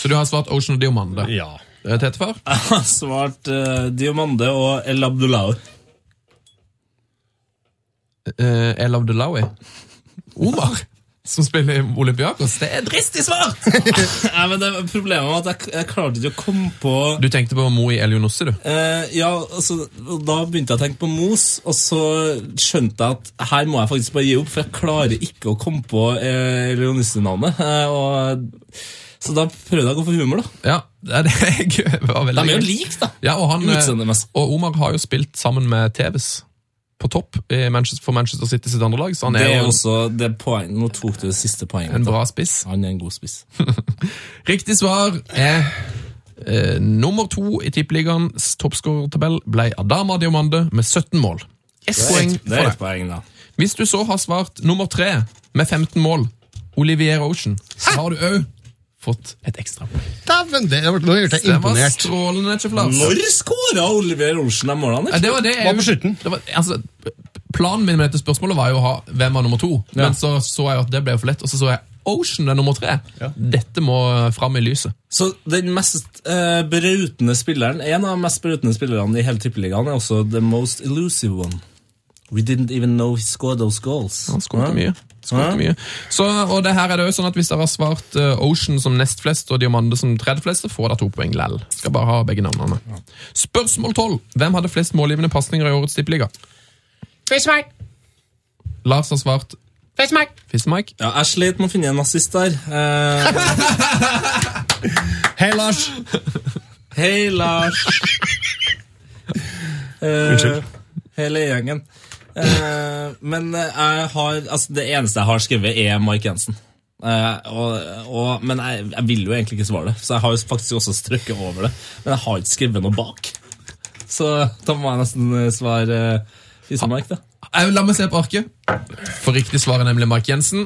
Speaker 4: Så du har svart Ocean og Diomande.
Speaker 5: ja.
Speaker 4: Eh, Tetefar?
Speaker 3: Han svarte eh, Diomande og El Abdullahi.
Speaker 4: Uh, El Abdullawi? Omar? Som spiller i Olympiakos? Det er dristig svar!
Speaker 3: Nei, men det, Problemet var at jeg, jeg klarte ikke å komme på
Speaker 4: Du tenkte på Moi Elionossi, du.
Speaker 3: Eh, ja, altså, og Da begynte jeg å tenke på Mos, og så skjønte jeg at her må jeg faktisk bare gi opp, for jeg klarer ikke å komme på eh, Leonissi-navnet. Eh, og- så da prøvde jeg å gå for humor, da.
Speaker 4: Ja, det er det jeg var veldig
Speaker 3: De er jo like, da.
Speaker 4: Ja, og, han,
Speaker 3: Utseendemessig.
Speaker 4: eh, og Omar har jo spilt sammen med Tevez på topp i Manchester, for Manchester City sitt andre lag, så han
Speaker 3: Det
Speaker 4: er,
Speaker 3: er
Speaker 4: jo
Speaker 3: også det poeng. Nå tok du det siste poenget.
Speaker 4: en
Speaker 3: mitt, da.
Speaker 4: bra spiss.
Speaker 3: Han er en god spiss.
Speaker 4: Riktig svar er eh, nummer to i Tippeligaens toppskårertabell ble Adama Diomande med 17 mål. Ett poeng for
Speaker 3: Det er et
Speaker 4: det.
Speaker 3: poeng, da.
Speaker 4: Hvis du så har svart nummer tre med 15 mål, Olivier Ocean, så har du òg fått et ekstra poeng.
Speaker 5: Dæven, det nå ble jeg
Speaker 4: Det var
Speaker 5: imponert.
Speaker 4: strålende, Kjef Lars.
Speaker 3: Når skåra Oliver Olsen de målene?
Speaker 4: Ja, det var det jeg-
Speaker 5: Var på slutten.
Speaker 4: Det var, altså, planen min med dette spørsmålet var jo å ha hvem var nummer to, men så så jeg at det ble jo for lett, og så så jeg Ocean er nummer tre. Dette må fram i lyset.
Speaker 3: Så den mest eh, brautende spilleren, en av de mest brautende spillerne i hele tippeligaen, er også the most elusive one. We didn't even know he scored those goals.
Speaker 4: Han skåret mye. Skåret
Speaker 3: Ja.
Speaker 4: mye. Så, og det her er det jo sånn at Hvis dere har svart eh, Ocean som nest flest og Diamande som tredje flest, så får dere to poeng lell. Skal bare ha begge navnene. Spørsmål 12. Hvem hadde flest målgivende pasninger i årets tippeliga? Lars har svart Fismark.
Speaker 3: Ja, jeg slet med å finne en nazist der. Eh,
Speaker 5: Hei, Lars.
Speaker 3: Hei, Lars. Unnskyld. hele gjengen. Eh, men eh, jeg har, altså, det eneste jeg har skrevet, er Mike Jensen. Eh, og, og, men jeg, jeg vil jo egentlig ikke svare det, så jeg har jo faktisk også strøkket over det. Men jeg har ikke skrevet noe bak. Så da må jeg nesten eh, svare eh, Fisemark, da.
Speaker 4: Eh, La meg se på arket. For riktig svar er nemlig Mark Jensen.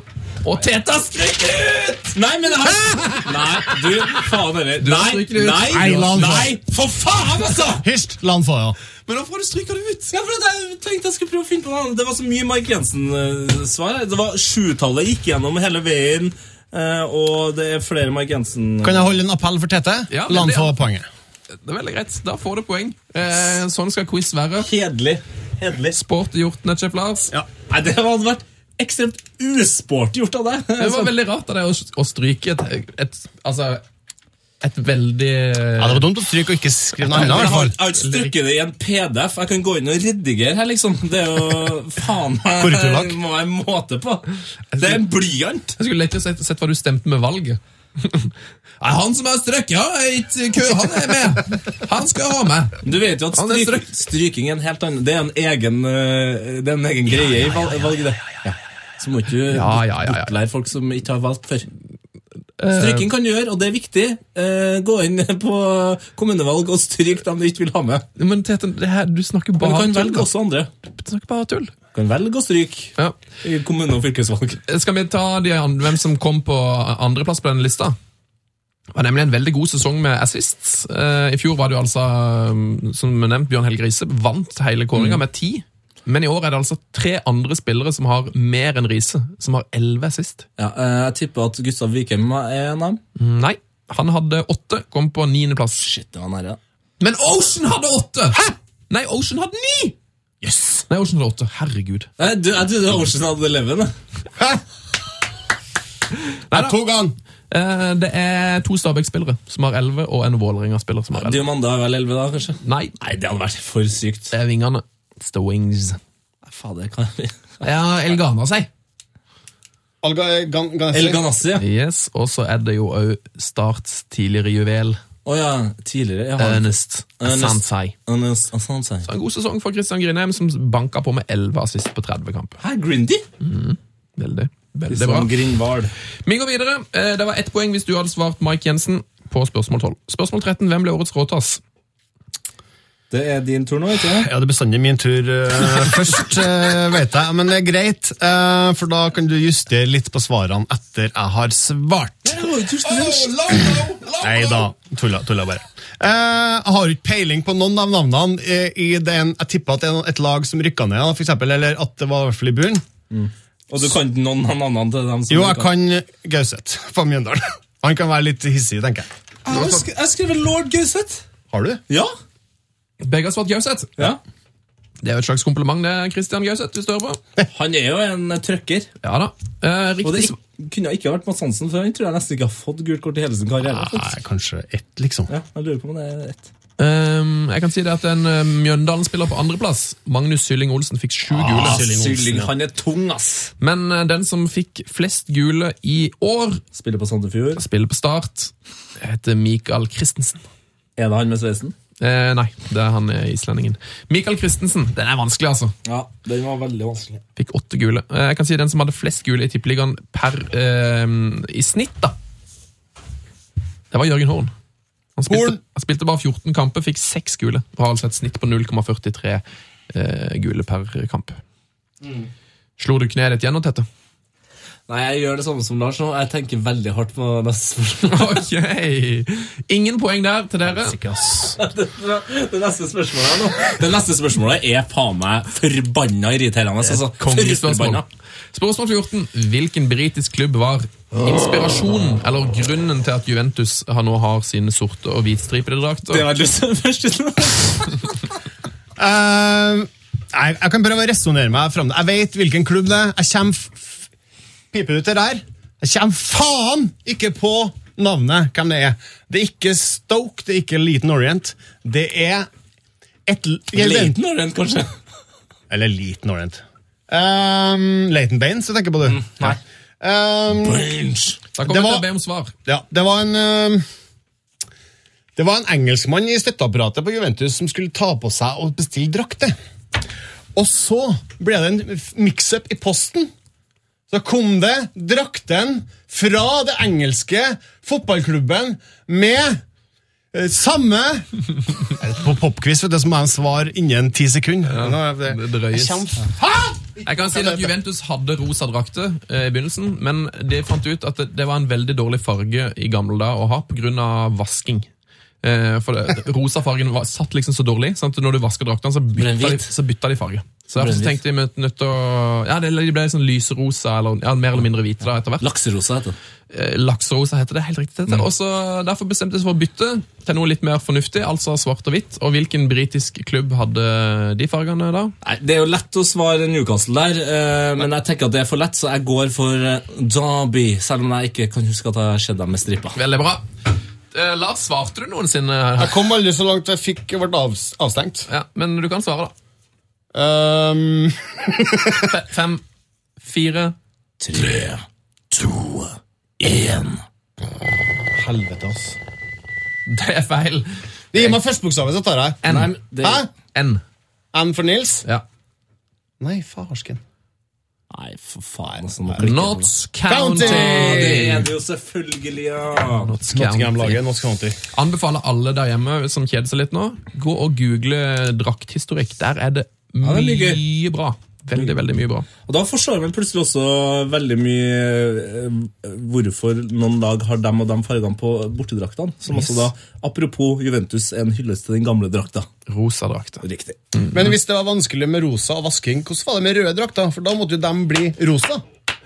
Speaker 4: Og Teta skryter ut!
Speaker 3: Nei, men jeg har Nei, du, faen heller.
Speaker 4: har
Speaker 3: Nei,
Speaker 4: stryket det ut.
Speaker 3: nei,
Speaker 5: Nei, la han få.
Speaker 3: nei, for faen, altså!
Speaker 5: Hysj, la han få, ja.
Speaker 4: Men hvorfor har du stryka det ut?
Speaker 3: Ja, for at jeg tenkte jeg skulle prøve å finne på noe annet. Det var så mye Mark Jensen-svar. Det var Sjutallet gikk gjennom hele veien, eh, og det er flere Mark Jensen
Speaker 5: Kan jeg holde en appell for Tete?
Speaker 4: Ja, men
Speaker 5: la han
Speaker 4: det-
Speaker 5: få poenget.
Speaker 4: Det er veldig greit. Da får du poeng. Eh, sånn skal quiz være.
Speaker 3: Kjedelig. Kjedelig.
Speaker 4: Sport gjort, Netchef Lars.
Speaker 3: Ja. Nei, det hadde vært ekstremt usporty gjort av deg.
Speaker 4: Det var veldig rart av deg å, å stryke et, et Altså et veldig
Speaker 5: Ja, det var dumt å stryke og ikke skrive noe
Speaker 3: Men
Speaker 5: annet. i
Speaker 3: jeg har
Speaker 5: hvert
Speaker 3: jeg har ikke strukket det i en PDF. Jeg kan gå inn og redigere her, liksom. Det er jo faen meg
Speaker 5: Korrekturlakk.
Speaker 3: må være måte på. Det er en blyant.
Speaker 4: Jeg skulle lett å sett, sett hva du stemte med valget. Nei, han som har strøkket, ja, i t- kø, han er med! Han skal ha med!
Speaker 3: Du vet jo at
Speaker 4: Han er
Speaker 3: stryk,
Speaker 4: strøkt.
Speaker 3: stryking er en helt annen Det er en egen, eh, det er en egen greie i valg- valget. det. Ja. Så må ikke du
Speaker 4: Ja, ja, ja, ja.
Speaker 3: bortlære folk som ikke har valgt før. Stryking kan du gjøre, og det er viktig. Eh, Gå inn på kommunevalg og stryk dem du ikke vil ha med.
Speaker 4: Men Tete, det her, du snakker
Speaker 3: Men du
Speaker 4: bare
Speaker 3: kan
Speaker 4: tull.
Speaker 3: velge
Speaker 4: da.
Speaker 3: også andre.
Speaker 4: Du snakker bare tull.
Speaker 3: Du kan velge å stryke
Speaker 4: Ja.
Speaker 3: i kommune- og fylkesvalg.
Speaker 4: Skal vi ta de, an- hvem som kom på andreplass på denne lista? Det var nemlig en veldig god sesong med assists. Eh, I fjor var det jo altså, um, som nevnt, Bjørn Helge Riise vant hele kåringa med ti. Men i år er det altså tre andre spillere som har mer enn Riise, som har elleve assist.
Speaker 3: Ja, eh, jeg tipper at Gustav Vikheim er en av dem.
Speaker 4: Mm. Nei, han hadde åtte, kom på niendeplass.
Speaker 3: Shit, det var nære.
Speaker 4: Men Ocean hadde åtte! Hæ? Nei, Ocean hadde ni! Yes. Nei, Ocean hadde åtte. Herregud.
Speaker 3: Nei, du, jeg trodde Ocean hadde 11. da.
Speaker 4: Neida.
Speaker 5: To ganger!
Speaker 4: Eh, Det er to Stabæk-spillere som har 11, og en Vålerenga-spiller som har 11.
Speaker 3: Diamanda er vel 11 da, kanskje?
Speaker 4: Nei,
Speaker 3: Nei, det hadde vært for sykt.
Speaker 4: det er vingene. It's the wings.
Speaker 3: Nei, faen, det kan jeg
Speaker 4: Ja, Elgana seg.
Speaker 5: Alga, gan, gan,
Speaker 3: El Ganassi, ja.
Speaker 4: Yes, og så er det jo òg Starts tidligere juvel,
Speaker 3: Å ja, tidligere. Jeg
Speaker 5: Eh,
Speaker 3: har
Speaker 4: Ernest
Speaker 3: Ernest.
Speaker 4: Sansai.
Speaker 3: Ernest Asante.
Speaker 4: En god sesong for Christian Grindheim, som banka på med 11 assist på 30 kamper.
Speaker 3: Hæ, Grindy?
Speaker 4: Veldig, veldig bra.
Speaker 3: Grindvard.
Speaker 4: Vi går videre. Eh, Det var ett poeng hvis du hadde svart Mike Jensen på spørsmål 12. Spørsmål 13. Hvem ble årets råtass?
Speaker 3: Det er din tur nå, ikke sant?
Speaker 5: Ja, det er bestandig min tur eh, først, eh, vet jeg. Men det er greit, eh, for da kan du justere litt på svarene etter jeg har svart. Nei da, tulla, tulla bare. Eh, jeg har jo ikke peiling på noen av navnene. eh, i den, Jeg tipper at det er noen- et lag som rykka ned, da, for eksempel, eller at det var i hvert fall i bunnen.
Speaker 3: Og du kan ikke noen av navnene til dem som
Speaker 5: Jo, jeg kan Gauseth fra Mjøndalen. Han kan være litt hissig, tenker jeg.
Speaker 3: Jeg har sk- jeg har skrevet lord Gauseth.
Speaker 5: Har du?
Speaker 3: Ja.
Speaker 4: Begge har svart Gauseth.
Speaker 3: ja.
Speaker 4: Det er jo et slags kompliment, det, Christian Gauseth. Hvis du hører på.
Speaker 3: Han er jo en eh, trøkker.
Speaker 4: Ja da. Eh,
Speaker 3: Og det
Speaker 4: riktig svar.
Speaker 3: ikk- kunne ikke ha vært Mads Hansen, for han tror jeg nesten ikke har fått gult kort i hele sin karriere.
Speaker 5: Nei, kanskje ett, liksom.
Speaker 3: Ja, jeg lurer på om det er ett.
Speaker 4: Ehm, jeg kan si det at en eh, Mjøndalen-spiller på andreplass, Magnus Sylling Olsen, fikk sju gule.
Speaker 3: Ah, Sylling, han er tung, ass.
Speaker 4: Men eh, den som fikk flest gule i år,
Speaker 3: Spiller på Sandefjord.
Speaker 4: spiller på start, heter Mikael Christensen.
Speaker 3: Er det han med sveisen?
Speaker 4: Eh, nei, det er han eh, islendingen. Mikael Christensen. Den er vanskelig, altså.
Speaker 3: Ja, den var veldig vanskelig.
Speaker 4: Fikk åtte gule. Eh, Jeg kan si den som hadde flest gule i tippeligaen per eh, i snitt, da. Det var Jørgen Horn. Han spilte,
Speaker 5: Horn!
Speaker 4: han spilte bare 14 kamper, fikk seks gule. Og har altså et snitt på 0,43 eh, gule per kamp.
Speaker 5: Mm.
Speaker 4: Slo du kneet ditt gjennom, Tette?
Speaker 3: Nei, jeg gjør det samme som Lars nå. Jeg tenker veldig hardt på neste spørsmål.
Speaker 4: Ok! Ingen poeng der til dere.
Speaker 3: Det neste spørsmålet her nå. Det neste spørsmålet er faen meg forbanna irriterende. Altså.
Speaker 4: Kongespørsmål.
Speaker 3: Forbanna.
Speaker 4: Spørsmål 14. Hvilken britisk klubb var inspirasjonen eller grunnen til at Juventus har- nå har sine sorte og hvitstripede drakter?
Speaker 3: Det var lyst til først.
Speaker 5: Eh, jeg, jeg kan prøve å resonnere meg fram. Jeg vet hvilken klubb det er. Jeg kommer f- f- Piper ut det der? Jeg kommer faen ikke på navnet hvem det er. Det er ikke Stoke, det er ikke Eliten Orient. Det er et l-
Speaker 3: Leiten har den, kanskje.
Speaker 5: Eller Eliten Orient. Um, Leighton Baines, jeg tenker på Eh, du. nei.
Speaker 4: Da kommer
Speaker 5: Det
Speaker 4: vi til
Speaker 5: var-
Speaker 4: å be om svar.
Speaker 5: Ja, det var en eh, Det var en engelskmann i støtteapparatet på Juventus som skulle ta på seg og bestille drakter. Og så ble det en f- mix-up i posten. Så kom det drakten fra det engelske fotballklubben med eh, samme På popquiz vet du, så må jeg svare innen ti sekunder. Nå er
Speaker 4: det drøyes.
Speaker 5: Jeg kommer- Faen!
Speaker 4: Jeg kan si at Juventus hadde rosa drakter eh, i begynnelsen, men de fant ut at det, det var en veldig dårlig farge i gamle dager å ha pga. vasking. Eh, for det, rosa fargen var, satt liksom så dårlig. Sant? Når du vasker draktene, så bytta,
Speaker 3: Ble den
Speaker 4: de,
Speaker 3: hvit?
Speaker 4: så bytta de farge. Så derfor
Speaker 3: Ble den
Speaker 4: så
Speaker 3: hvit?
Speaker 4: tenkte de nødt- nødt til å Ja, det, eller de ble sånn lyserosa, eller ja, mer eller mindre hvite da, etter hvert.
Speaker 3: Lakserosa heter det.
Speaker 4: Eh, Lakserosa heter det. helt riktig
Speaker 3: Mm.
Speaker 4: heter det. Og så Derfor bestemte de seg for å bytte til noe litt mer fornuftig, altså svart og hvitt. Og hvilken britisk klubb hadde de fargene da?
Speaker 3: Nei, Det er jo lett å svare Newcastle der, eh, men jeg tenker at det er for lett, så jeg går for eh, Derby. Selv om jeg ikke kan huske at jeg har sett dem med stripa.
Speaker 4: Veldig bra. Eh, Lars, svarte du noensinne?
Speaker 5: Jeg kom aldri så langt jeg fikk ble avs- avstengt.
Speaker 4: Ja, men du kan svare, da.
Speaker 5: Um,
Speaker 4: Fe fem, fire
Speaker 3: Tre, to, én.
Speaker 5: Helvete, ass.
Speaker 4: Det er feil.
Speaker 5: Gi Ehm, meg førstebokstaven, så tar jeg.
Speaker 4: N.
Speaker 3: Nei, men det-
Speaker 5: Hæ?
Speaker 4: N.
Speaker 5: N for Nils?
Speaker 4: Ja.
Speaker 5: Nei, farsken.
Speaker 3: Nei, for faen. Altså, nå klikker det på det.
Speaker 4: Notts County.
Speaker 5: County!
Speaker 3: Det er det jo selvfølgelig, ja.
Speaker 4: Notts County.
Speaker 5: Nottingham-laget, Notts County.
Speaker 4: Anbefaler alle der hjemme som kjeder seg litt nå, gå og google drakthistorikk. Der er det mye
Speaker 3: det er mye
Speaker 4: bra. Veldig, veldig mye bra.
Speaker 3: Og Da forstår man plutselig også veldig mye eh, hvorfor noen lag har dem og dem fargene på bortedraktene. Som også da, apropos Juventus, er en hyllest til den gamle drakta.
Speaker 4: Rosa drakter.
Speaker 3: Riktig.
Speaker 5: Men hvis det var vanskelig med rosa og vasking, hvordan var det med røde drakter? For da måtte jo dem bli rosa.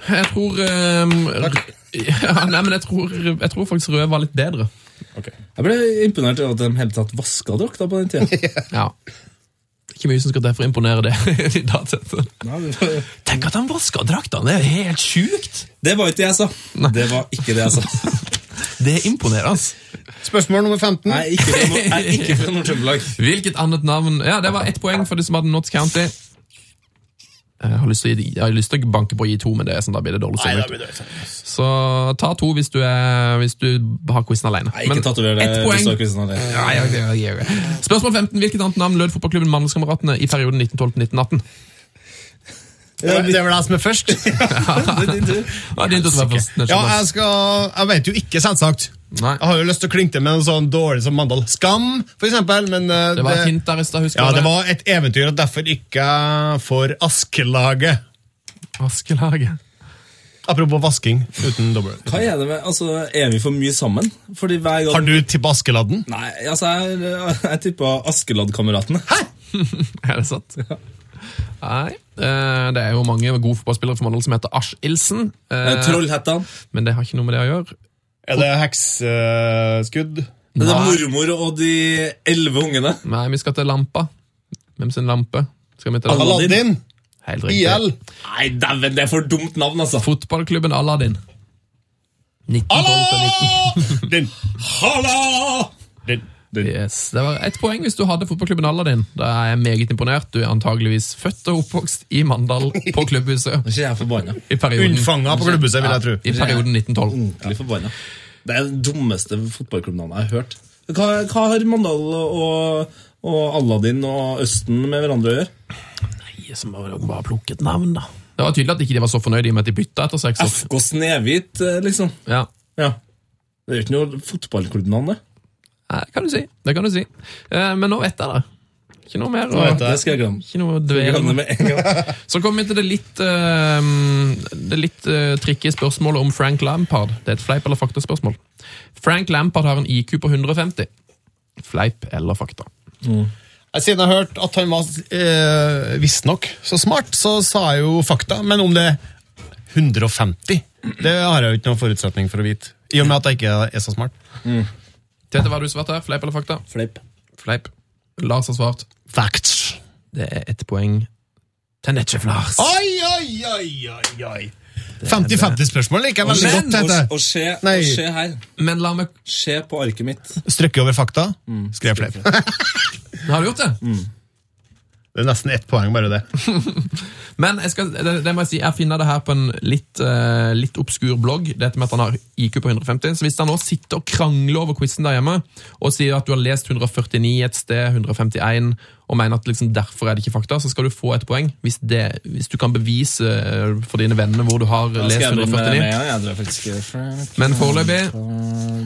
Speaker 4: Jeg tror ehm, r- ja, Nei, men jeg tror, jeg tror faktisk rød var litt bedre.
Speaker 3: Jeg ble imponert over at de hele tatt vaska drakta på den tida.
Speaker 4: Ja. Ikke mye som skal til for å imponere det. i dag, Tete. Tenk at han vasker draktene! Det er helt sjukt!
Speaker 3: Det var ikke det jeg sa. Det var ikke det jeg sa.
Speaker 4: Det er imponerende.
Speaker 5: Spørsmål nummer 15.
Speaker 3: Jeg er ikke fra Nord- jeg er ikke fra Nord-Trøndelag.
Speaker 4: Hvilket annet navn Ja, det var ett poeng for de som hadde Notts County. Jeg har, lyst til å, gi- jeg har lyst til å banke på å gi to, men det er sånn, da blir det dårlig stemning. Så ta to hvis du, er, hvis du har quizen alene.
Speaker 3: Nei, Ikke tatover det.
Speaker 4: ett poeng.
Speaker 3: Gustavsen, det.
Speaker 4: Ja, ja, ja, ja, ja. Spørsmål 15. Hvilket annet navn lød fotballklubben Mandelskameratene i perioden 1912-1918?
Speaker 5: Det er- det er vel jeg som er først.
Speaker 4: Ja, din tur til å være først,
Speaker 5: Ja, jeg
Speaker 4: Jonas.
Speaker 5: skal Jeg vet jo ikke, selvsagt.
Speaker 4: Nei.
Speaker 5: Jeg har jo lyst til å klinke til med noe sånn dårlig som Mandal Skam, for eksempel, men eh,
Speaker 4: Det var et hint der i stad, husker
Speaker 5: Ja,
Speaker 4: du
Speaker 5: det var et eventyr, og derfor ikke for Askelaget.
Speaker 4: Askelaget.
Speaker 5: Apropos vasking uten dobbel.
Speaker 3: Hva er det med Altså, er vi for mye sammen? Fordi hver gang
Speaker 5: Har du tippa Askeladden?
Speaker 3: Nei, altså, jeg, jeg tippa Askeladd-kameratene.
Speaker 4: Er det sant? Nei. eh, Det er jo mange gode fotballspillere for Mandal som heter Askildsen.
Speaker 3: Eh, Trollhettene.
Speaker 4: Men det har ikke noe med det å gjøre.
Speaker 5: Er det hekseskudd?
Speaker 3: Det er
Speaker 4: Nei.
Speaker 3: mormor og de elleve ungene.
Speaker 4: Nei, vi skal til lampa. Hvem sin lampe? Skal vi til
Speaker 3: Aladdin.
Speaker 5: Aladdin?
Speaker 4: Helt riktig.
Speaker 5: IL?
Speaker 3: Nei, dæven, det er for dumt navn, altså.
Speaker 4: Fotballklubben Aladdin. 1912 til 19.
Speaker 5: Din.
Speaker 3: Halla!
Speaker 5: Din.
Speaker 4: Yes. Det var ett poeng hvis du hadde fotballklubben Aladdin. Da er jeg meget imponert. Du er antageligvis født og oppvokst i Mandal på klubbhuset
Speaker 3: Nå er ikke jeg forbanna.
Speaker 4: i perioden,
Speaker 5: Unnfanga på klubbhuset, vil jeg tro.
Speaker 4: i perioden 1912.
Speaker 3: Ordentlig forbanna. Det er det dummeste fotballklubbnavnet jeg har hørt. Hva, hva har Mandal og, og Aladdin og Østen med hverandre å gjøre?
Speaker 4: Som bare plukket navn, da. Det var tydelig at ikke de var så fornøyde i og med at de bytta etter seks år.
Speaker 3: FK Snehvit, eh, liksom.
Speaker 4: Ja.
Speaker 3: Ja. Det er jo ikke noe fotballklubbnavn, det.
Speaker 4: Nei, Det kan du si. Det kan du si. Eh, Men nå vet jeg det. Ikke noe mer. å-
Speaker 3: Det skal jeg glemme.
Speaker 4: Ikke noe å dvele med.
Speaker 3: glemme med en gang.
Speaker 4: Så kommer vi til det litt, eh, det litt eh, tricky spørsmålet om Frank Lampard. Det er et fleip- eller faktaspørsmål. Frank Lampard har en IQ på 150. Fleip eller fakta?
Speaker 5: Jeg- Siden jeg har hørt at han var eh, visstnok så smart, så sa jeg jo fakta. Men om det er 150, det har jeg jo ikke noen forutsetning for å vite. I og med at jeg ikke er så smart.
Speaker 4: Tete, hva har du svart her? Fleip eller fakta?
Speaker 3: Fleip.
Speaker 4: Fleip. Lars har svart.
Speaker 5: Facts.
Speaker 4: Det er ett poeng til Netchef-Lars.
Speaker 5: Oi, oi, oi, oi, oi. 50-50-spørsmål liker jeg veldig
Speaker 3: Men,
Speaker 5: godt.
Speaker 3: Og,
Speaker 5: Tete.
Speaker 3: og, se,
Speaker 5: Nei.
Speaker 3: og se her.
Speaker 4: Men la meg
Speaker 3: Se på arket mitt.
Speaker 5: Strøkket over fakta,
Speaker 3: Mm.
Speaker 5: skrev flere.
Speaker 4: Har du gjort det?
Speaker 5: Det er nesten ett poeng, bare det.
Speaker 4: Men jeg, skal, det, det må jeg si, jeg finner det her på en litt, eh, litt obskur blogg, dette med at han har IQ på 150. Så hvis han nå sitter og krangler over quizen der hjemme, og sier at du har lest 149 et sted, 151, og mener at liksom derfor er det ikke fakta, så skal du få et poeng hvis, det, hvis du kan bevise eh, for dine venner hvor du har
Speaker 3: Skal
Speaker 4: lest
Speaker 3: jeg begynne med
Speaker 4: 149.
Speaker 3: det med en gang? Jeg tror faktisk ikke Frank
Speaker 4: Men foreløpig,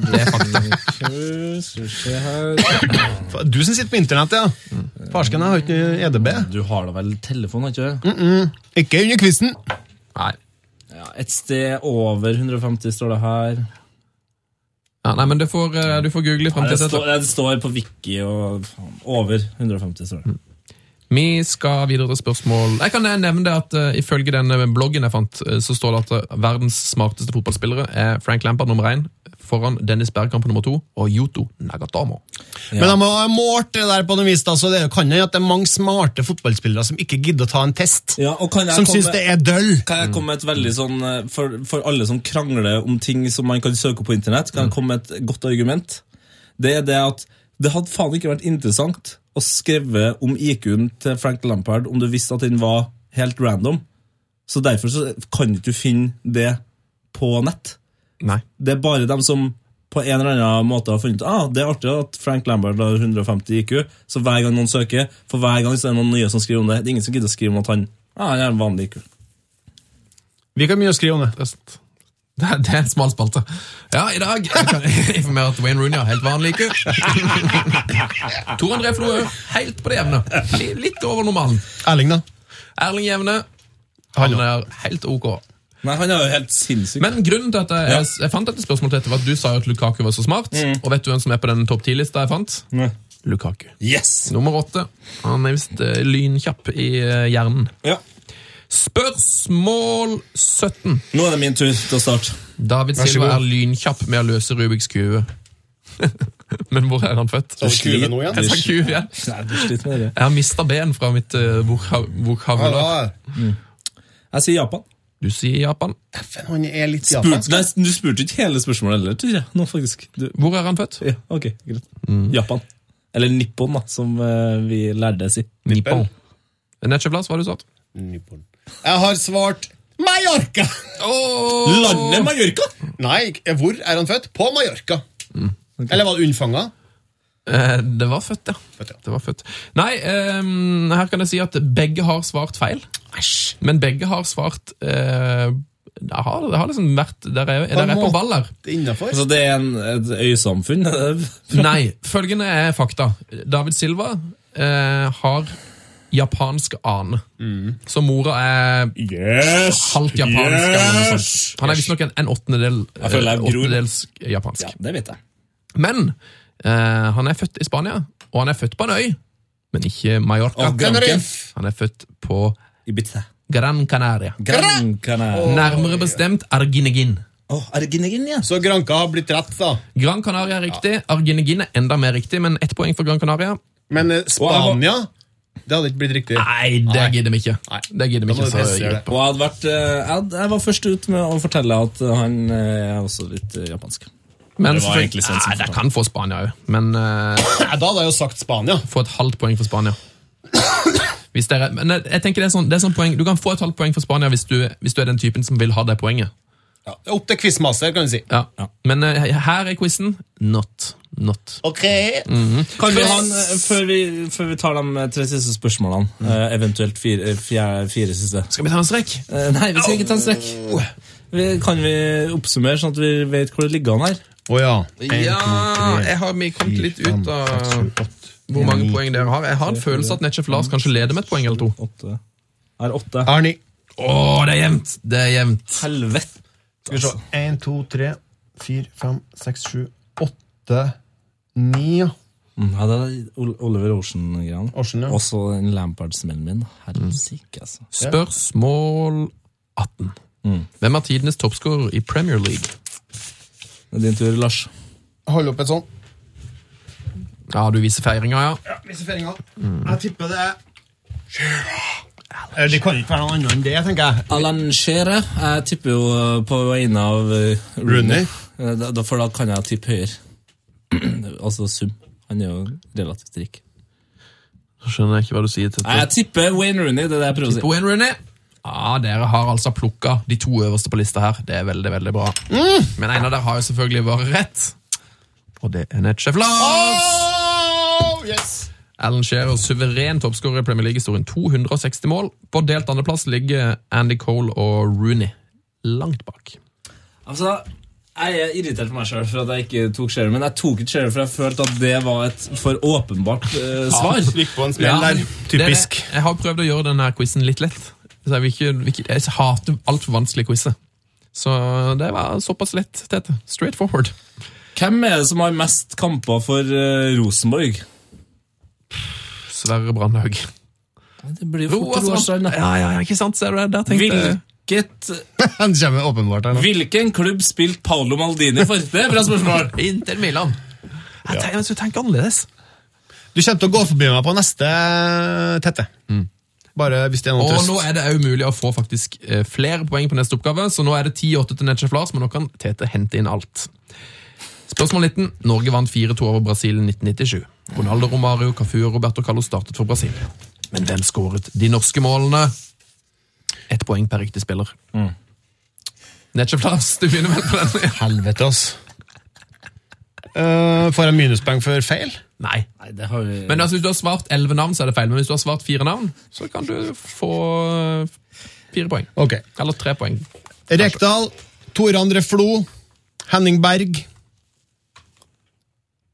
Speaker 4: det er fakta.
Speaker 3: Cruz, skal vi se her.
Speaker 5: Fa- Du som sitter på internett, ja.
Speaker 3: Mm.
Speaker 5: Farsken jeg har ikke EDB.
Speaker 3: Du har da vel telefon, har ikke du?
Speaker 5: Ikke under quizen.
Speaker 4: Nei.
Speaker 3: Ja, et sted over 150 står det her.
Speaker 4: Ja, nei, men du får, eh, du får google frem
Speaker 3: Nei,
Speaker 4: til
Speaker 3: det,
Speaker 4: dette.
Speaker 3: står, det står på Wiki og faen, over 150 står det.
Speaker 4: Vi skal videre til spørsmål Jeg kan nevne det at eh, ifølge den eh, bloggen jeg fant, eh, så står det at eh, verdens smarteste fotballspillere er Frank Lampard nummer én, foran Dennis Bergkamp nummer to og Yoto Nagatomo.
Speaker 5: Men de har målt det der på noe vis, da, så det kan jo at det er mange smarte fotballspillere som ikke gidder å ta en test.
Speaker 3: Ja, og kan jeg
Speaker 5: Som
Speaker 3: komme-
Speaker 5: syns det er døll.
Speaker 3: Kan jeg komme med et veldig sånn eh, for, for alle som krangler om ting som man kan søke opp på internett, kan jeg komme med et godt argument. Det er det at det hadde faen ikke vært interessant å skrive om IQ-en til Frank Lampard om du visste at den var helt random. Så derfor så kan ikke du finne det på nett.
Speaker 4: Nei.
Speaker 3: Det er bare dem som på en eller annen måte har funnet ah, det er artig at Frank Lambert har 150 IQ, så hver gang noen søker, for hver gang så er det noen nye som skriver om det. Det er ingen som gidder å skrive om at han ah, han er en vanlig IQ.
Speaker 5: Vi kan mye å skrive om det.
Speaker 4: Rest. Det er, det er en smal spalte. Ja, i dag jeg kan jeg informere at Wayne Rooney har helt vanlig IQ. Tor André Flo er jo helt på det jevne. Li- Litt over normalen.
Speaker 5: Erling, da?
Speaker 4: Erling Jevne, han er helt ok.
Speaker 3: Nei, han er jo helt sinnssyk.
Speaker 4: Men grunnen til at jeg, jeg, jeg fant dette spørsmålet til dette, var at du sa jo at Lukaku var så smart.
Speaker 5: Mm.
Speaker 4: Og vet du hvem som er på den topp 10-lista jeg fant?
Speaker 3: Nei.
Speaker 4: Lukaku.
Speaker 3: yes!
Speaker 4: Nummer åtte. Han er visst eh, lynkjapp i eh, hjernen.
Speaker 3: Ja.
Speaker 4: Spørsmål 17.
Speaker 3: Nå er det min tur til å starte.
Speaker 4: David
Speaker 5: så
Speaker 4: Silva
Speaker 5: god.
Speaker 4: er lynkjapp med å løse Rubiks kube. Men hvor er han født?
Speaker 5: Så kule nå igjen.
Speaker 4: Jeg sa Kyiv igjen.
Speaker 3: Nei, du sliter med det.
Speaker 4: Jeg har mista ben fra mitt eh, vokha- vokabular.
Speaker 5: Ja,
Speaker 3: Jeg sier Japan.
Speaker 4: Du sier Japan.
Speaker 5: Dæven, han er litt
Speaker 3: Spurt,
Speaker 5: japansk.
Speaker 3: nei, du spurte ikke hele spørsmålet heller, tror jeg. Mm. Nå, faktisk. Du,
Speaker 4: Hvor er han født?
Speaker 3: ja, ok, greit. Japan. Eller Nippon, da, som eh, vi lærte å si.
Speaker 4: Nippon. Netsjeblass, hva har du svart?
Speaker 5: Nippon. Jeg har svart Mallorca!
Speaker 4: Oh!
Speaker 3: Landet Mallorca!
Speaker 5: Nei, hvor er han født? På Mallorca. Mm, Eller var det unnfanga?
Speaker 4: Eh, Det var født, ja.
Speaker 5: Født, ja.
Speaker 4: Det var født. Nei, ehm, her kan jeg si at begge har svart feil. Men begge har svart eh, det, har, det har liksom vært Der er, der er på ball her.
Speaker 5: Det er innafor.
Speaker 3: Altså, det er en, et øysamfunn.
Speaker 4: Nei, følgende er fakta. David Silva eh, har japansk ane. Så mora er
Speaker 3: Yes!
Speaker 4: halvt japansk. eller noe sånt. Han er visstnok en, en åttendedel
Speaker 3: Jeg føler jeg
Speaker 4: eh,
Speaker 3: gror.
Speaker 4: åttendedels japansk.
Speaker 3: Ja, det vet jeg.
Speaker 4: Men eh, han er født i Spania, og han er født på en øy, men ikke Mallorca.
Speaker 3: Og Gran
Speaker 5: Tenerife.
Speaker 4: han er født på
Speaker 3: Ibiza.
Speaker 4: Gran Canaria.
Speaker 3: Gran Canaria.
Speaker 4: Nærmere bestemt Arginegin.
Speaker 3: Åh, Arginegin, ja.
Speaker 5: Så Granka har blitt rett, da.
Speaker 4: Gran Canaria er riktig, Arginegin er enda mer riktig, men ett poeng for Gran Canaria.
Speaker 5: Men eh, Spania Det hadde ikke blitt riktig.
Speaker 4: Nei, det gidder vi ikke.
Speaker 5: Nei.
Speaker 4: Det gidder vi
Speaker 5: Da må
Speaker 4: ikke.
Speaker 5: du
Speaker 4: så
Speaker 5: presse det.
Speaker 4: hjelp.
Speaker 3: Og jeg, hadde vært, eh, jeg hadde- jeg var først ut med å fortelle at han eh, er også litt eh, japansk.
Speaker 4: Men
Speaker 3: Det var
Speaker 4: selvfølgelig-
Speaker 3: egentlig sånn som
Speaker 4: Nei, det
Speaker 3: forstår.
Speaker 4: kan få Spania òg, men eh,
Speaker 5: Nei, Da hadde jeg jo sagt Spania.
Speaker 4: få et halvt poeng for Spania. Hvis dere, men jeg jeg tenker det er, sånn, det er sånn poeng Du kan få et halvt poeng for Spania hvis du, hvis du er den typen som vil ha det poenget.
Speaker 5: Ja. Opp til quizmaster, kan du si.
Speaker 4: Ja. Men eh, her er quizen. Not. Not.
Speaker 5: Ok.
Speaker 3: Kan vi ha en, eh, før, vi, før vi tar de eh, tre siste spørsmålene, eh, eventuelt fire, eh, fjerde, fire siste
Speaker 4: Skal vi ta en strek?
Speaker 3: Eh, Nei, vi skal ikke ta en strekk. Vi- Kan vi oppsummere, sånn at vi vet hvor det ligger an her?
Speaker 5: Å ja.
Speaker 4: Ja, jeg har vi kommet litt ut av hvor mange poeng dere har. Jeg har en følelse at Netchef Lars kanskje leder med et poeng eller to.
Speaker 3: Åtte. Ah. Er åtte.
Speaker 5: Arni.
Speaker 4: Å, det er jevnt! Det er jevnt.
Speaker 3: Helvete!
Speaker 5: Skal vi se. Én, to, tre, fire, fem, seks, sju, åtte, ni. ja.
Speaker 3: Mm, Ja, det er Ol- Oliver Ocean-greiene.
Speaker 5: Ocean, ja.
Speaker 3: Og så den Lampard-smellen min. Helsike, altså.
Speaker 4: Spørsmål 18. Hvem er tidenes toppskårer i Premier League?
Speaker 3: Det er din tur, Lars.
Speaker 5: Hold opp et sånn.
Speaker 4: Ja, du viser feiringa, ja.
Speaker 5: Ja, visse feiringa. Jeg tipper det er Eh, Det kan ikke være noe annet enn det, tenker jeg.
Speaker 3: Alan Shearer. Jeg tipper jo eh, på vegne av eh,
Speaker 5: Rooney.
Speaker 3: Eh, da- da- For da kan jeg tippe høyere. altså sum. Han er jo relativt rik.
Speaker 4: Så skjønner jeg ikke hva du sier til
Speaker 3: Nei, jeg tipper Wayne Rooney. det er det jeg prøver å si.
Speaker 4: Wayne Rooney. Ja, dere har altså plukka de to øverste på lista her. Det er veldig, veldig bra. Men en av dere har jo selvfølgelig vært rett. Og det er Netchef Lars!
Speaker 5: Oh, yes.
Speaker 4: Alan Shearer, suveren toppskårer i Premier League-historien. 260 mål. På delt andreplass ligger Andy Cole og Rooney. Langt bak.
Speaker 3: Altså, Jeg er irritert på meg sjøl for at jeg ikke tok Shearer, men jeg tok ikke Shearer for jeg følte at det var et for åpenbart eh, svar.
Speaker 5: Gikk på en smell der.
Speaker 4: Typisk. Dere, jeg har prøvd å gjøre denne quizen litt lett. Så jeg, vil ikke, vil ikke, jeg hater altfor vanskelige quizer. Så det var såpass lett, Tete. Straight forward.
Speaker 3: Hvem er det som har mest kamper for eh, Rosenborg?
Speaker 4: Sverre Brandhaug.
Speaker 3: Det blir jo
Speaker 4: Roar
Speaker 3: fort
Speaker 4: Strand.
Speaker 3: Rosenborg. da.
Speaker 4: Ja, ja, ja, ikke sant? Ser du det? Der tenkte jeg
Speaker 3: Hvilket,
Speaker 5: Han kommer åpenbart her nå.
Speaker 3: hvilken klubb spilte Paolo Maldini for? Det er et bra spørsmål!
Speaker 4: Inntil Milan. Jeg tenker, jeg tenker annerledes.
Speaker 5: Du kommer til å gå forbi meg på neste eh, tette. Bare hvis det Mm. er noen
Speaker 4: Og nå
Speaker 5: trøst.
Speaker 4: er det òg mulig å få faktisk eh, flere poeng på neste oppgave, så nå er det 10-8 til Netchef Lars, men nå kan Tete hente inn alt. Spørsmål 19. Norge vant 4-2 over Brasil i 1997. Ronaldo Romario, Cafu og Roberto Carlos startet for Brasil. Men hvem skåret de norske målene? Ett poeng per riktig spiller. Mm. Lars, du begynner vel på den?
Speaker 5: Helvete, ass. Eh, får jeg minuspoeng for feil?
Speaker 4: Nei.
Speaker 3: Nei, det har vi...
Speaker 4: Men altså, hvis du har svart 11 navn, så er det feil. Men hvis du har svart fire navn, så kan du få eh, fire poeng.
Speaker 5: Ok.
Speaker 4: Eller tre poeng.
Speaker 5: Rekdal, Tore André Flo, Henning Berg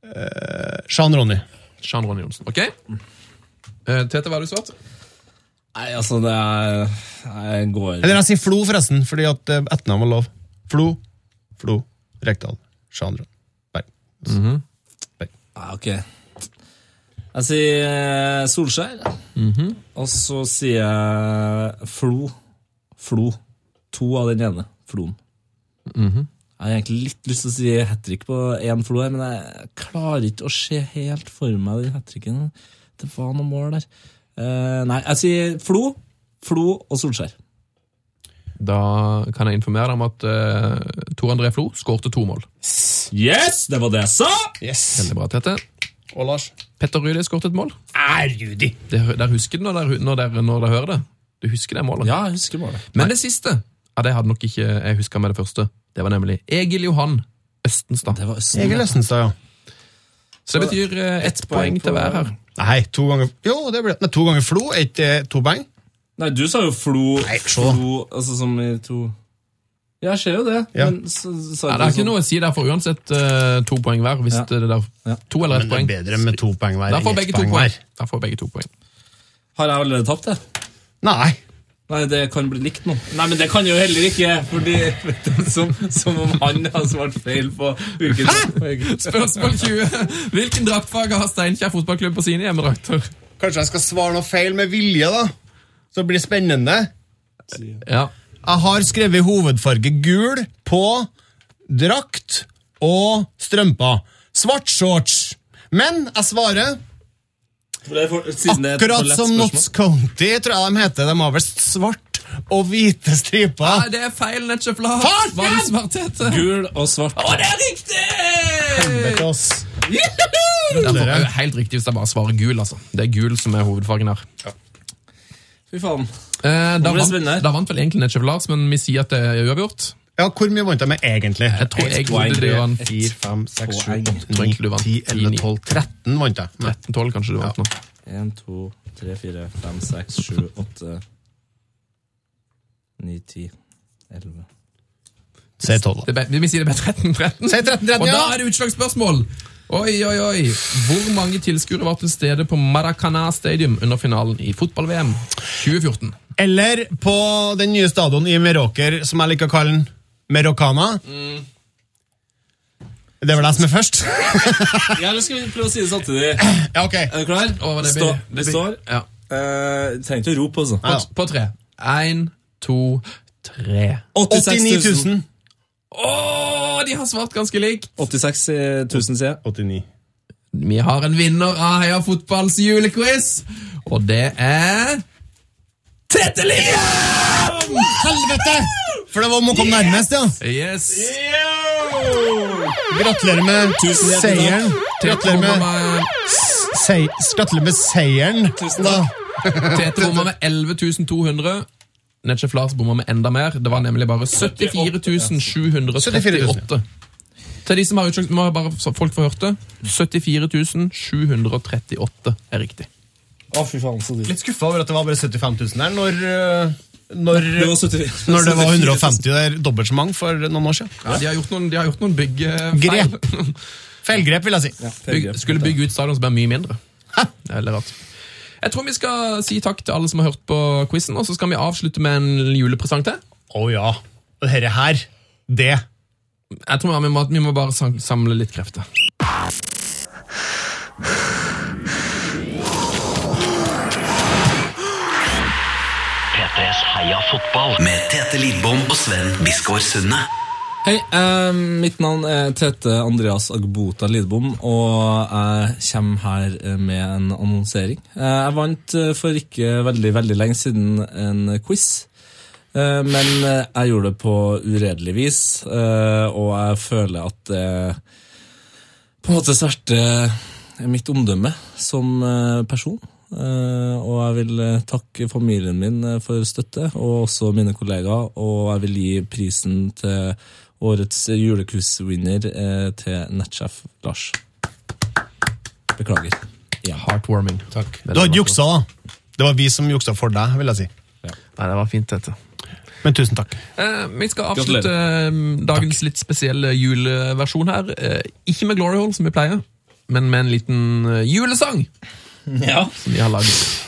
Speaker 5: eh, Sean Ronny.
Speaker 4: Jean Ronny Johnsen. Ok? Eh, Tete, hva har du svart?
Speaker 3: Nei, altså, det er Jeg går
Speaker 5: Eller jeg sier Flo, forresten, fordi at eh, etternavn var lov. Flo, Flo, Rekdal, Sean Ronny Berg.
Speaker 3: Nei, ok. Jeg sier eh, Solskjær. Og så sier jeg Flo. Flo. To av den ene. Floen. Jeg har egentlig litt lyst til å si hat trick på én flo her, men jeg klarer ikke å se helt for meg den hat tricken. Det var noen mål der. Eh, nei, jeg sier Flo, Flo og Solskjær.
Speaker 4: Da kan jeg informere deg om at uh, Tor André Flo skårte to mål.
Speaker 3: Yes, det var det jeg sa!
Speaker 5: Yes.
Speaker 4: Veldig bra, Tete.
Speaker 5: Og Lars.
Speaker 4: Petter Rudi skårte et mål.
Speaker 5: Er Rudi!
Speaker 4: Det, hø- der husker du når dere når dere- når dere hører det. Du husker det målet.
Speaker 3: Ja, jeg husker bare det.
Speaker 4: Men det siste ja, det hadde nok ikke jeg huska med det første. Det var nemlig Egil Johan Østenstad.
Speaker 3: Det var Østen.
Speaker 5: Egil Østenstad, ja.
Speaker 4: Så det betyr eh, ett poeng til hver her.
Speaker 5: Nei, to ganger Jo, det ble Nei, to ganger Flo, ett eh, to poeng.
Speaker 3: Nei, du sa jo Flo,
Speaker 5: Nei, se.
Speaker 3: Flo altså som i to Ja, jeg ser jo det,
Speaker 5: Ja.
Speaker 3: men så,
Speaker 4: Nei,
Speaker 3: så, sa du
Speaker 4: det er ikke
Speaker 3: sånn-
Speaker 4: noe å si der, for uansett eh, to poeng hver. Hvis
Speaker 3: Ja.
Speaker 4: det er der,
Speaker 3: Ja.
Speaker 4: to eller ett
Speaker 5: Men det er
Speaker 4: poeng.
Speaker 5: bedre med to poeng hver
Speaker 4: Da får
Speaker 5: enn ett
Speaker 4: begge to
Speaker 5: poeng
Speaker 4: poeng.
Speaker 5: hver.
Speaker 4: Da får begge to poeng.
Speaker 3: Har jeg allerede tapt, jeg?
Speaker 5: Nei.
Speaker 3: Nei, det kan bli likt nå. Nei, men det kan jo heller ikke, fordi som, som om han har svart feil på hvilken
Speaker 4: Spørsmål 20. Hvilken draktfarge har Steinkjer fotballklubb på sine hjemmedrakter?
Speaker 5: Kanskje jeg skal svare noe feil med vilje, da? Så det blir spennende.
Speaker 4: Ja.
Speaker 5: Jeg har skrevet hovedfarge gul på drakt og strømper. Svart shorts. Men jeg svarer akkurat som Notts County, tror jeg de heter. De har vel svart og hvite
Speaker 4: Nei,
Speaker 5: striper.
Speaker 4: det er feil, Netchef Lars.
Speaker 5: Faen!
Speaker 4: Hva er det svarthet?
Speaker 3: Gul og svart.
Speaker 4: Å, det er riktig!
Speaker 5: Helvete, ass.
Speaker 4: Det er jo helt riktig hvis jeg bare svarer gul, altså. Det er gul som er hovedfargen her.
Speaker 3: Fy faen.
Speaker 4: Eh, da,
Speaker 3: blir det
Speaker 4: vant,
Speaker 3: spennende.
Speaker 4: da vant vel egentlig Netchef Lars, men vi sier at det er uavgjort.
Speaker 5: Ja, hvor mye vant jeg med egentlig?
Speaker 4: Jeg tror jeg gjorde det var en
Speaker 5: 4, 5, 6, 7,
Speaker 3: poeng.
Speaker 5: 8,
Speaker 4: Tror
Speaker 5: 9,
Speaker 4: egentlig du vant
Speaker 5: 10, 11,
Speaker 4: 10,
Speaker 5: 12, 13 vant jeg. Nei.
Speaker 4: 13-12 kanskje du vant nå.
Speaker 3: Én, to, tre, fire, fem, seks, sju, åtte Ni, ti, elleve
Speaker 5: Si 12, da.
Speaker 4: Det, er be- vi sier det ble 13-13.
Speaker 5: Si 13-13,
Speaker 4: Og da
Speaker 5: ja!
Speaker 4: er det utslagsspørsmål! Oi, oi, oi. Hvor mange tilskuere var til stede på Maracana Stadium under finalen i fotball-VM 2014?
Speaker 5: Eller på den nye stadion i Meråker, som jeg liker å kalle den, Merokana. Det er vel jeg som er først?
Speaker 3: Ja, nå skal vi prøve å si det samtidig.
Speaker 5: ja, ok.
Speaker 3: Er du klar?
Speaker 4: Å, hva det
Speaker 3: Stå-
Speaker 4: blir-
Speaker 3: det står
Speaker 4: Ja.
Speaker 3: eh, Trenger ikke å rope, altså.
Speaker 5: Ja.
Speaker 4: På tre. Én, to, tre.
Speaker 5: 89 000.
Speaker 4: Å, de har svart ganske likt!
Speaker 3: 86 000, eh, sier jeg.
Speaker 5: 89.
Speaker 4: Vi har en vinner av Heia Fotballs julequiz, og det er Tete Lien!
Speaker 5: Helvete! For det var om å komme nærmest, ja.
Speaker 4: Yes!
Speaker 5: Gratulerer med seieren.
Speaker 4: Tete
Speaker 5: Gratulerer
Speaker 4: bommer
Speaker 5: med,
Speaker 4: med,
Speaker 5: sei gratulerer med seieren. Da.
Speaker 4: Tete bommer med 11 200. Netchef Lars bommer med enda mer. Det var nemlig bare 74 738. Til de som har utslags, må bare så folk få hørt det. 74 738 er riktig.
Speaker 3: Å, fy faen, så dyrt.
Speaker 5: Litt skuffa over at det var bare 75 000 der når øh, når,
Speaker 3: Det var 74
Speaker 5: når det var 150 der, dobbelt så mange for noen år siden.
Speaker 4: Ja, de har gjort noen, de har gjort noen byggefeil.
Speaker 5: Grep. Feilgrep, vil jeg si.
Speaker 4: Bygg, skulle bygge ut stadion som er mye mindre. Det er veldig rart. Jeg tror vi skal si takk til alle som har hørt på quizen, og så skal vi avslutte med en julepresang til.
Speaker 5: Å ja. Og dette her, det
Speaker 4: Jeg tror vi må, vi må bare sam- samle litt krefter.
Speaker 2: P3s Heia fotball med Tete Lidbom og Sven Biskår Sunde.
Speaker 3: Hei, eh, mitt navn er Tete Andreas Agbota Lidbom, og jeg kommer her eh, med en annonsering. Eh, jeg vant eh, for ikke veldig, veldig lenge siden en quiz, eh, men eh, jeg gjorde det på uredelig vis, eh, og jeg føler at eh, det på en måte sverter eh, mitt omdømme som eh, person. Eh, og jeg vil eh, takke familien min eh, for støtte, og også mine kollegaer. Og jeg vil gi prisen til årets julequiz-vinner eh, til nettsjef Lars. Beklager.
Speaker 4: Heartwarming.
Speaker 5: Du hadde juksa, da. Det var vi som juksa for deg, vil jeg si.
Speaker 4: Nei, det var fint, dette.
Speaker 5: Men tusen takk.
Speaker 4: Eh, vi skal avslutte eh, dagens litt spesielle juleversjon her. Eh, ikke med Glory Hall, som vi pleier, men med en liten eh, julesang
Speaker 3: Ja.
Speaker 4: som vi har laget.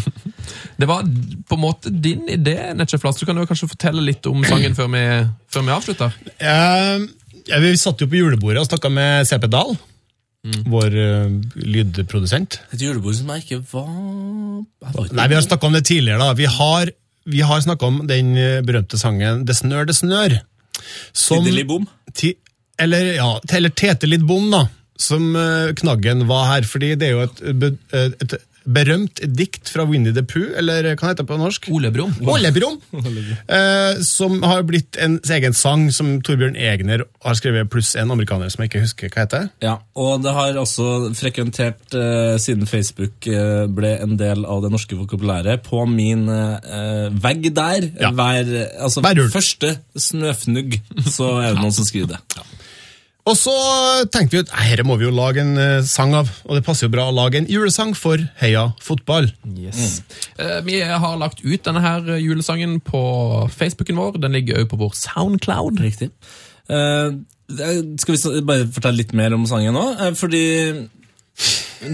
Speaker 4: det var på en måte din idé, Netchef Lars. Du kan jo kanskje fortelle litt om sangen før vi, før vi avslutter?
Speaker 5: Eh, ja, vi satt jo på julebordet og snakka med CP Dahl,
Speaker 4: Mm.
Speaker 5: vår eh, lydprodusent.
Speaker 3: Et julebord som jeg ikke var
Speaker 5: Nei, vi har snakka om det tidligere. da. Vi har, vi har snakka om den eh, berømte sangen 'Det snør, det snør'. Som,
Speaker 3: Tiddeli bom.
Speaker 5: Ti, eller, ja, eller Tete Lidbom, da, som eh, knaggen var her. Fordi det er jo et, be- eh, et berømt dikt fra Winnie the Pooh, eller hva heter det på norsk?
Speaker 8: Ole Brumm.
Speaker 5: Ollebrom, eh, som har blitt en egen sang som Torbjørn Egner har skrevet, pluss en amerikaner som jeg ikke husker hva heter.
Speaker 3: Ja, og det har også frekventert eh, siden Facebook eh, ble en del av det norske vokabulæret. På min eh, vegg der,
Speaker 5: Ja.
Speaker 3: hver, altså
Speaker 5: Hver jul.
Speaker 3: første snøfnugg, så er det noen som skriver det.
Speaker 5: Og så tenkte vi at "Nei, dette må vi jo lage en eh, sang av, og det passer jo bra å lage en julesang for Heia fotball.
Speaker 4: Mm.
Speaker 8: Eh, Vi har lagt ut denne her eh, julesangen på Facebooken vår. Den ligger også på vår Soundcloud.
Speaker 3: Riktig. Eh, det- skal vi så- bare fortelle litt mer om sangen nå? Eh, fordi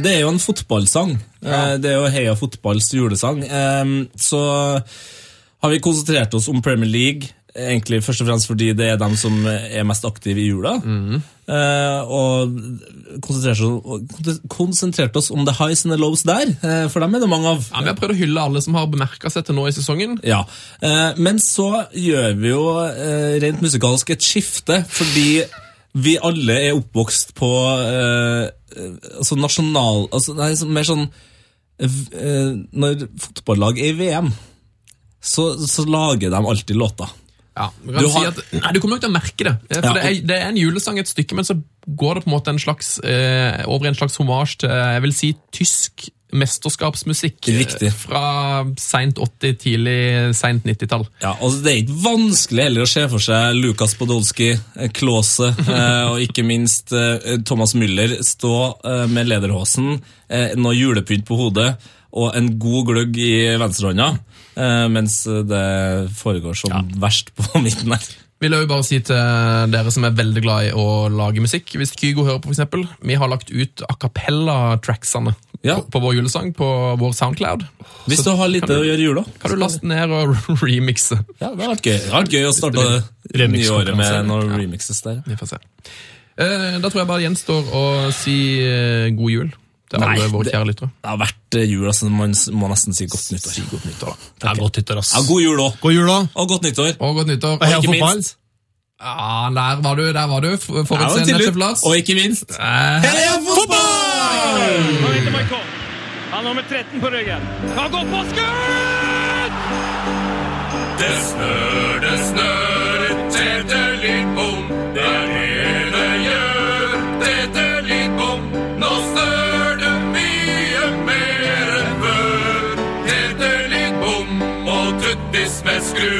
Speaker 3: det er jo en fotballsang. Eh, det er jo Heia fotballs julesang. Eh, så har vi konsentrert oss om Premier League, egentlig først og fremst fordi det er dem som er mest aktive i jula. Eh, og konsentrert oss, konsentrert oss om the highs and the lows der, eh, for dem er det mange av.
Speaker 8: Ja, vi har prøvd å hylle alle som har bemerka seg til nå i sesongen.
Speaker 3: Ja, eh, Men så gjør vi jo eh, rent musikalsk et skifte, fordi vi alle er oppvokst på eh, eh, altså nasjonal altså, Nei, så- mer sånn eh, v- eh, Når fotballag er i VM, så, så lager de alltid låter.
Speaker 8: Ja, du, kan
Speaker 3: Du
Speaker 8: si
Speaker 3: har-
Speaker 8: at, nei, du kommer nok til å merke det. Eh, For
Speaker 3: Ja,
Speaker 8: det, er, det er en julesang et stykke, men så går det på en måte en slags, eh, over i en slags hommage til eh, jeg vil si, tysk mesterskapsmusikk eh,
Speaker 3: Riktig.
Speaker 8: fra seint 80-, tidlig seint 90-tall.
Speaker 3: Ja, altså Det er ikke vanskelig heller å se for seg Lukas Podolsky, eh, Klause eh, og ikke minst eh, Thomas Müller stå eh, med lederhosen, eh, noe julepynt på hodet og en god gløgg i venstrehånda, eh, mens det foregår som verst på midten her.
Speaker 8: Vil jeg jo bare si til dere som er veldig glad i å lage musikk, hvis Kygo hører på for eksempel, vi har lagt ut a cappella-tracksene
Speaker 3: Ja.
Speaker 8: på, på vår julesang på vår Soundcloud.
Speaker 3: Hvis du har lite å gjøre i jula.
Speaker 8: Kan du laste ned og remixe?
Speaker 3: Ja, Det har vært gøy, det har vært gøy å starte det nye året med noen remixes der. ja.
Speaker 8: Vi får se. Eh, Da tror jeg bare gjenstår å si eh, god jul til alle
Speaker 3: Nei,
Speaker 8: våre
Speaker 3: det-
Speaker 8: kjære lyttere.
Speaker 3: Det har vært eh, jul, altså man s- må nesten si godt nyttår.
Speaker 5: Det er godt nyttår, ass.
Speaker 3: Ja, God jul òg,
Speaker 5: God jul, da.
Speaker 3: og godt nyttår.
Speaker 8: Og godt nyttår.
Speaker 5: Og Heia
Speaker 3: ikke
Speaker 5: fotball.
Speaker 3: minst-
Speaker 8: Ja, der var du, der var du. f-
Speaker 3: Ja, og
Speaker 8: Forutseende
Speaker 3: til
Speaker 8: til
Speaker 3: slutt,
Speaker 8: plass.
Speaker 3: Og ikke minst
Speaker 8: Eh,
Speaker 3: Heia fotball!
Speaker 1: Han heter Maikon. Han har nummer 13 på ryggen. Han går på skudd!
Speaker 4: Det snør, det snør, tete litt bom. Det er det det gjør, tete litt bom. Nå snør det mye mer enn før. Tete litt bom og tuttis med skru.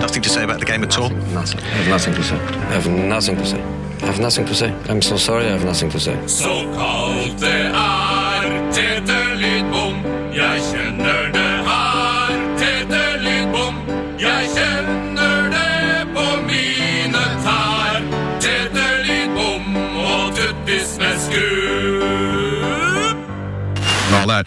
Speaker 9: Nothing to say about the game at all.
Speaker 10: Nothing. I have nothing to say. I have nothing to say. I have nothing to say. I'm so sorry. I have nothing to say.
Speaker 4: Så kaldt det er, tete litt bom. Jeg kjenner det her, tete litt bom. Jeg kjenner det på mine tær. Tete litt bom og tuttis med skrubb.
Speaker 9: Not that.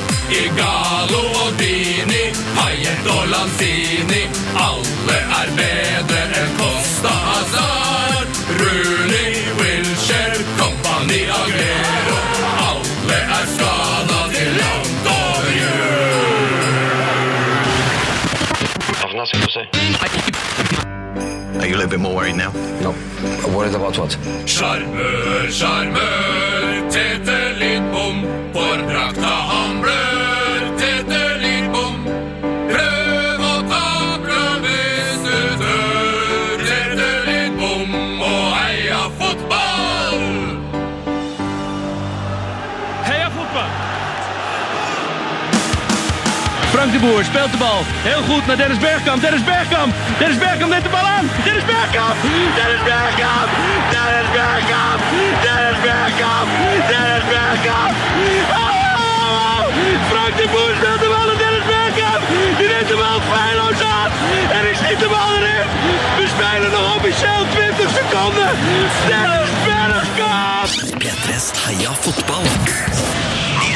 Speaker 4: I Galo og Dini, Payet og Lanzini. Alle er bedre enn Costa Hazard. Rooney, Wilshere, Company Aguero. Alle er skada til langt over jul.
Speaker 10: I have nothing to say.
Speaker 9: Are you a little bit more worried now?
Speaker 10: No. Worried about what?
Speaker 4: Sjarmør, sjarmør, tete litt bom. For drakta han blør, tete litt bom. Prøv å ta blod hvis du tør. Tete litt bom og heia fotball!
Speaker 1: Heia fotbal! Frank de Boer speelt de bal. Heel goed naar Dennis Bergkamp. Dennis Bergkamp. Dennis Bergkamp neemt de bal aan. Dennis Bergkamp. Dennis Bergkamp. Dennis Bergkamp. Dennis Bergkamp. Dennis Bergkamp. Oh! Frank de Boer speelt de bal aan Dennis Bergkamp. Die neemt de bal feilloos aan. En is niet de bal erin. We spelen nog officieel 20 seconden. Dennis, Dennis, faenskap!
Speaker 2: P3s Heia fotball. Ny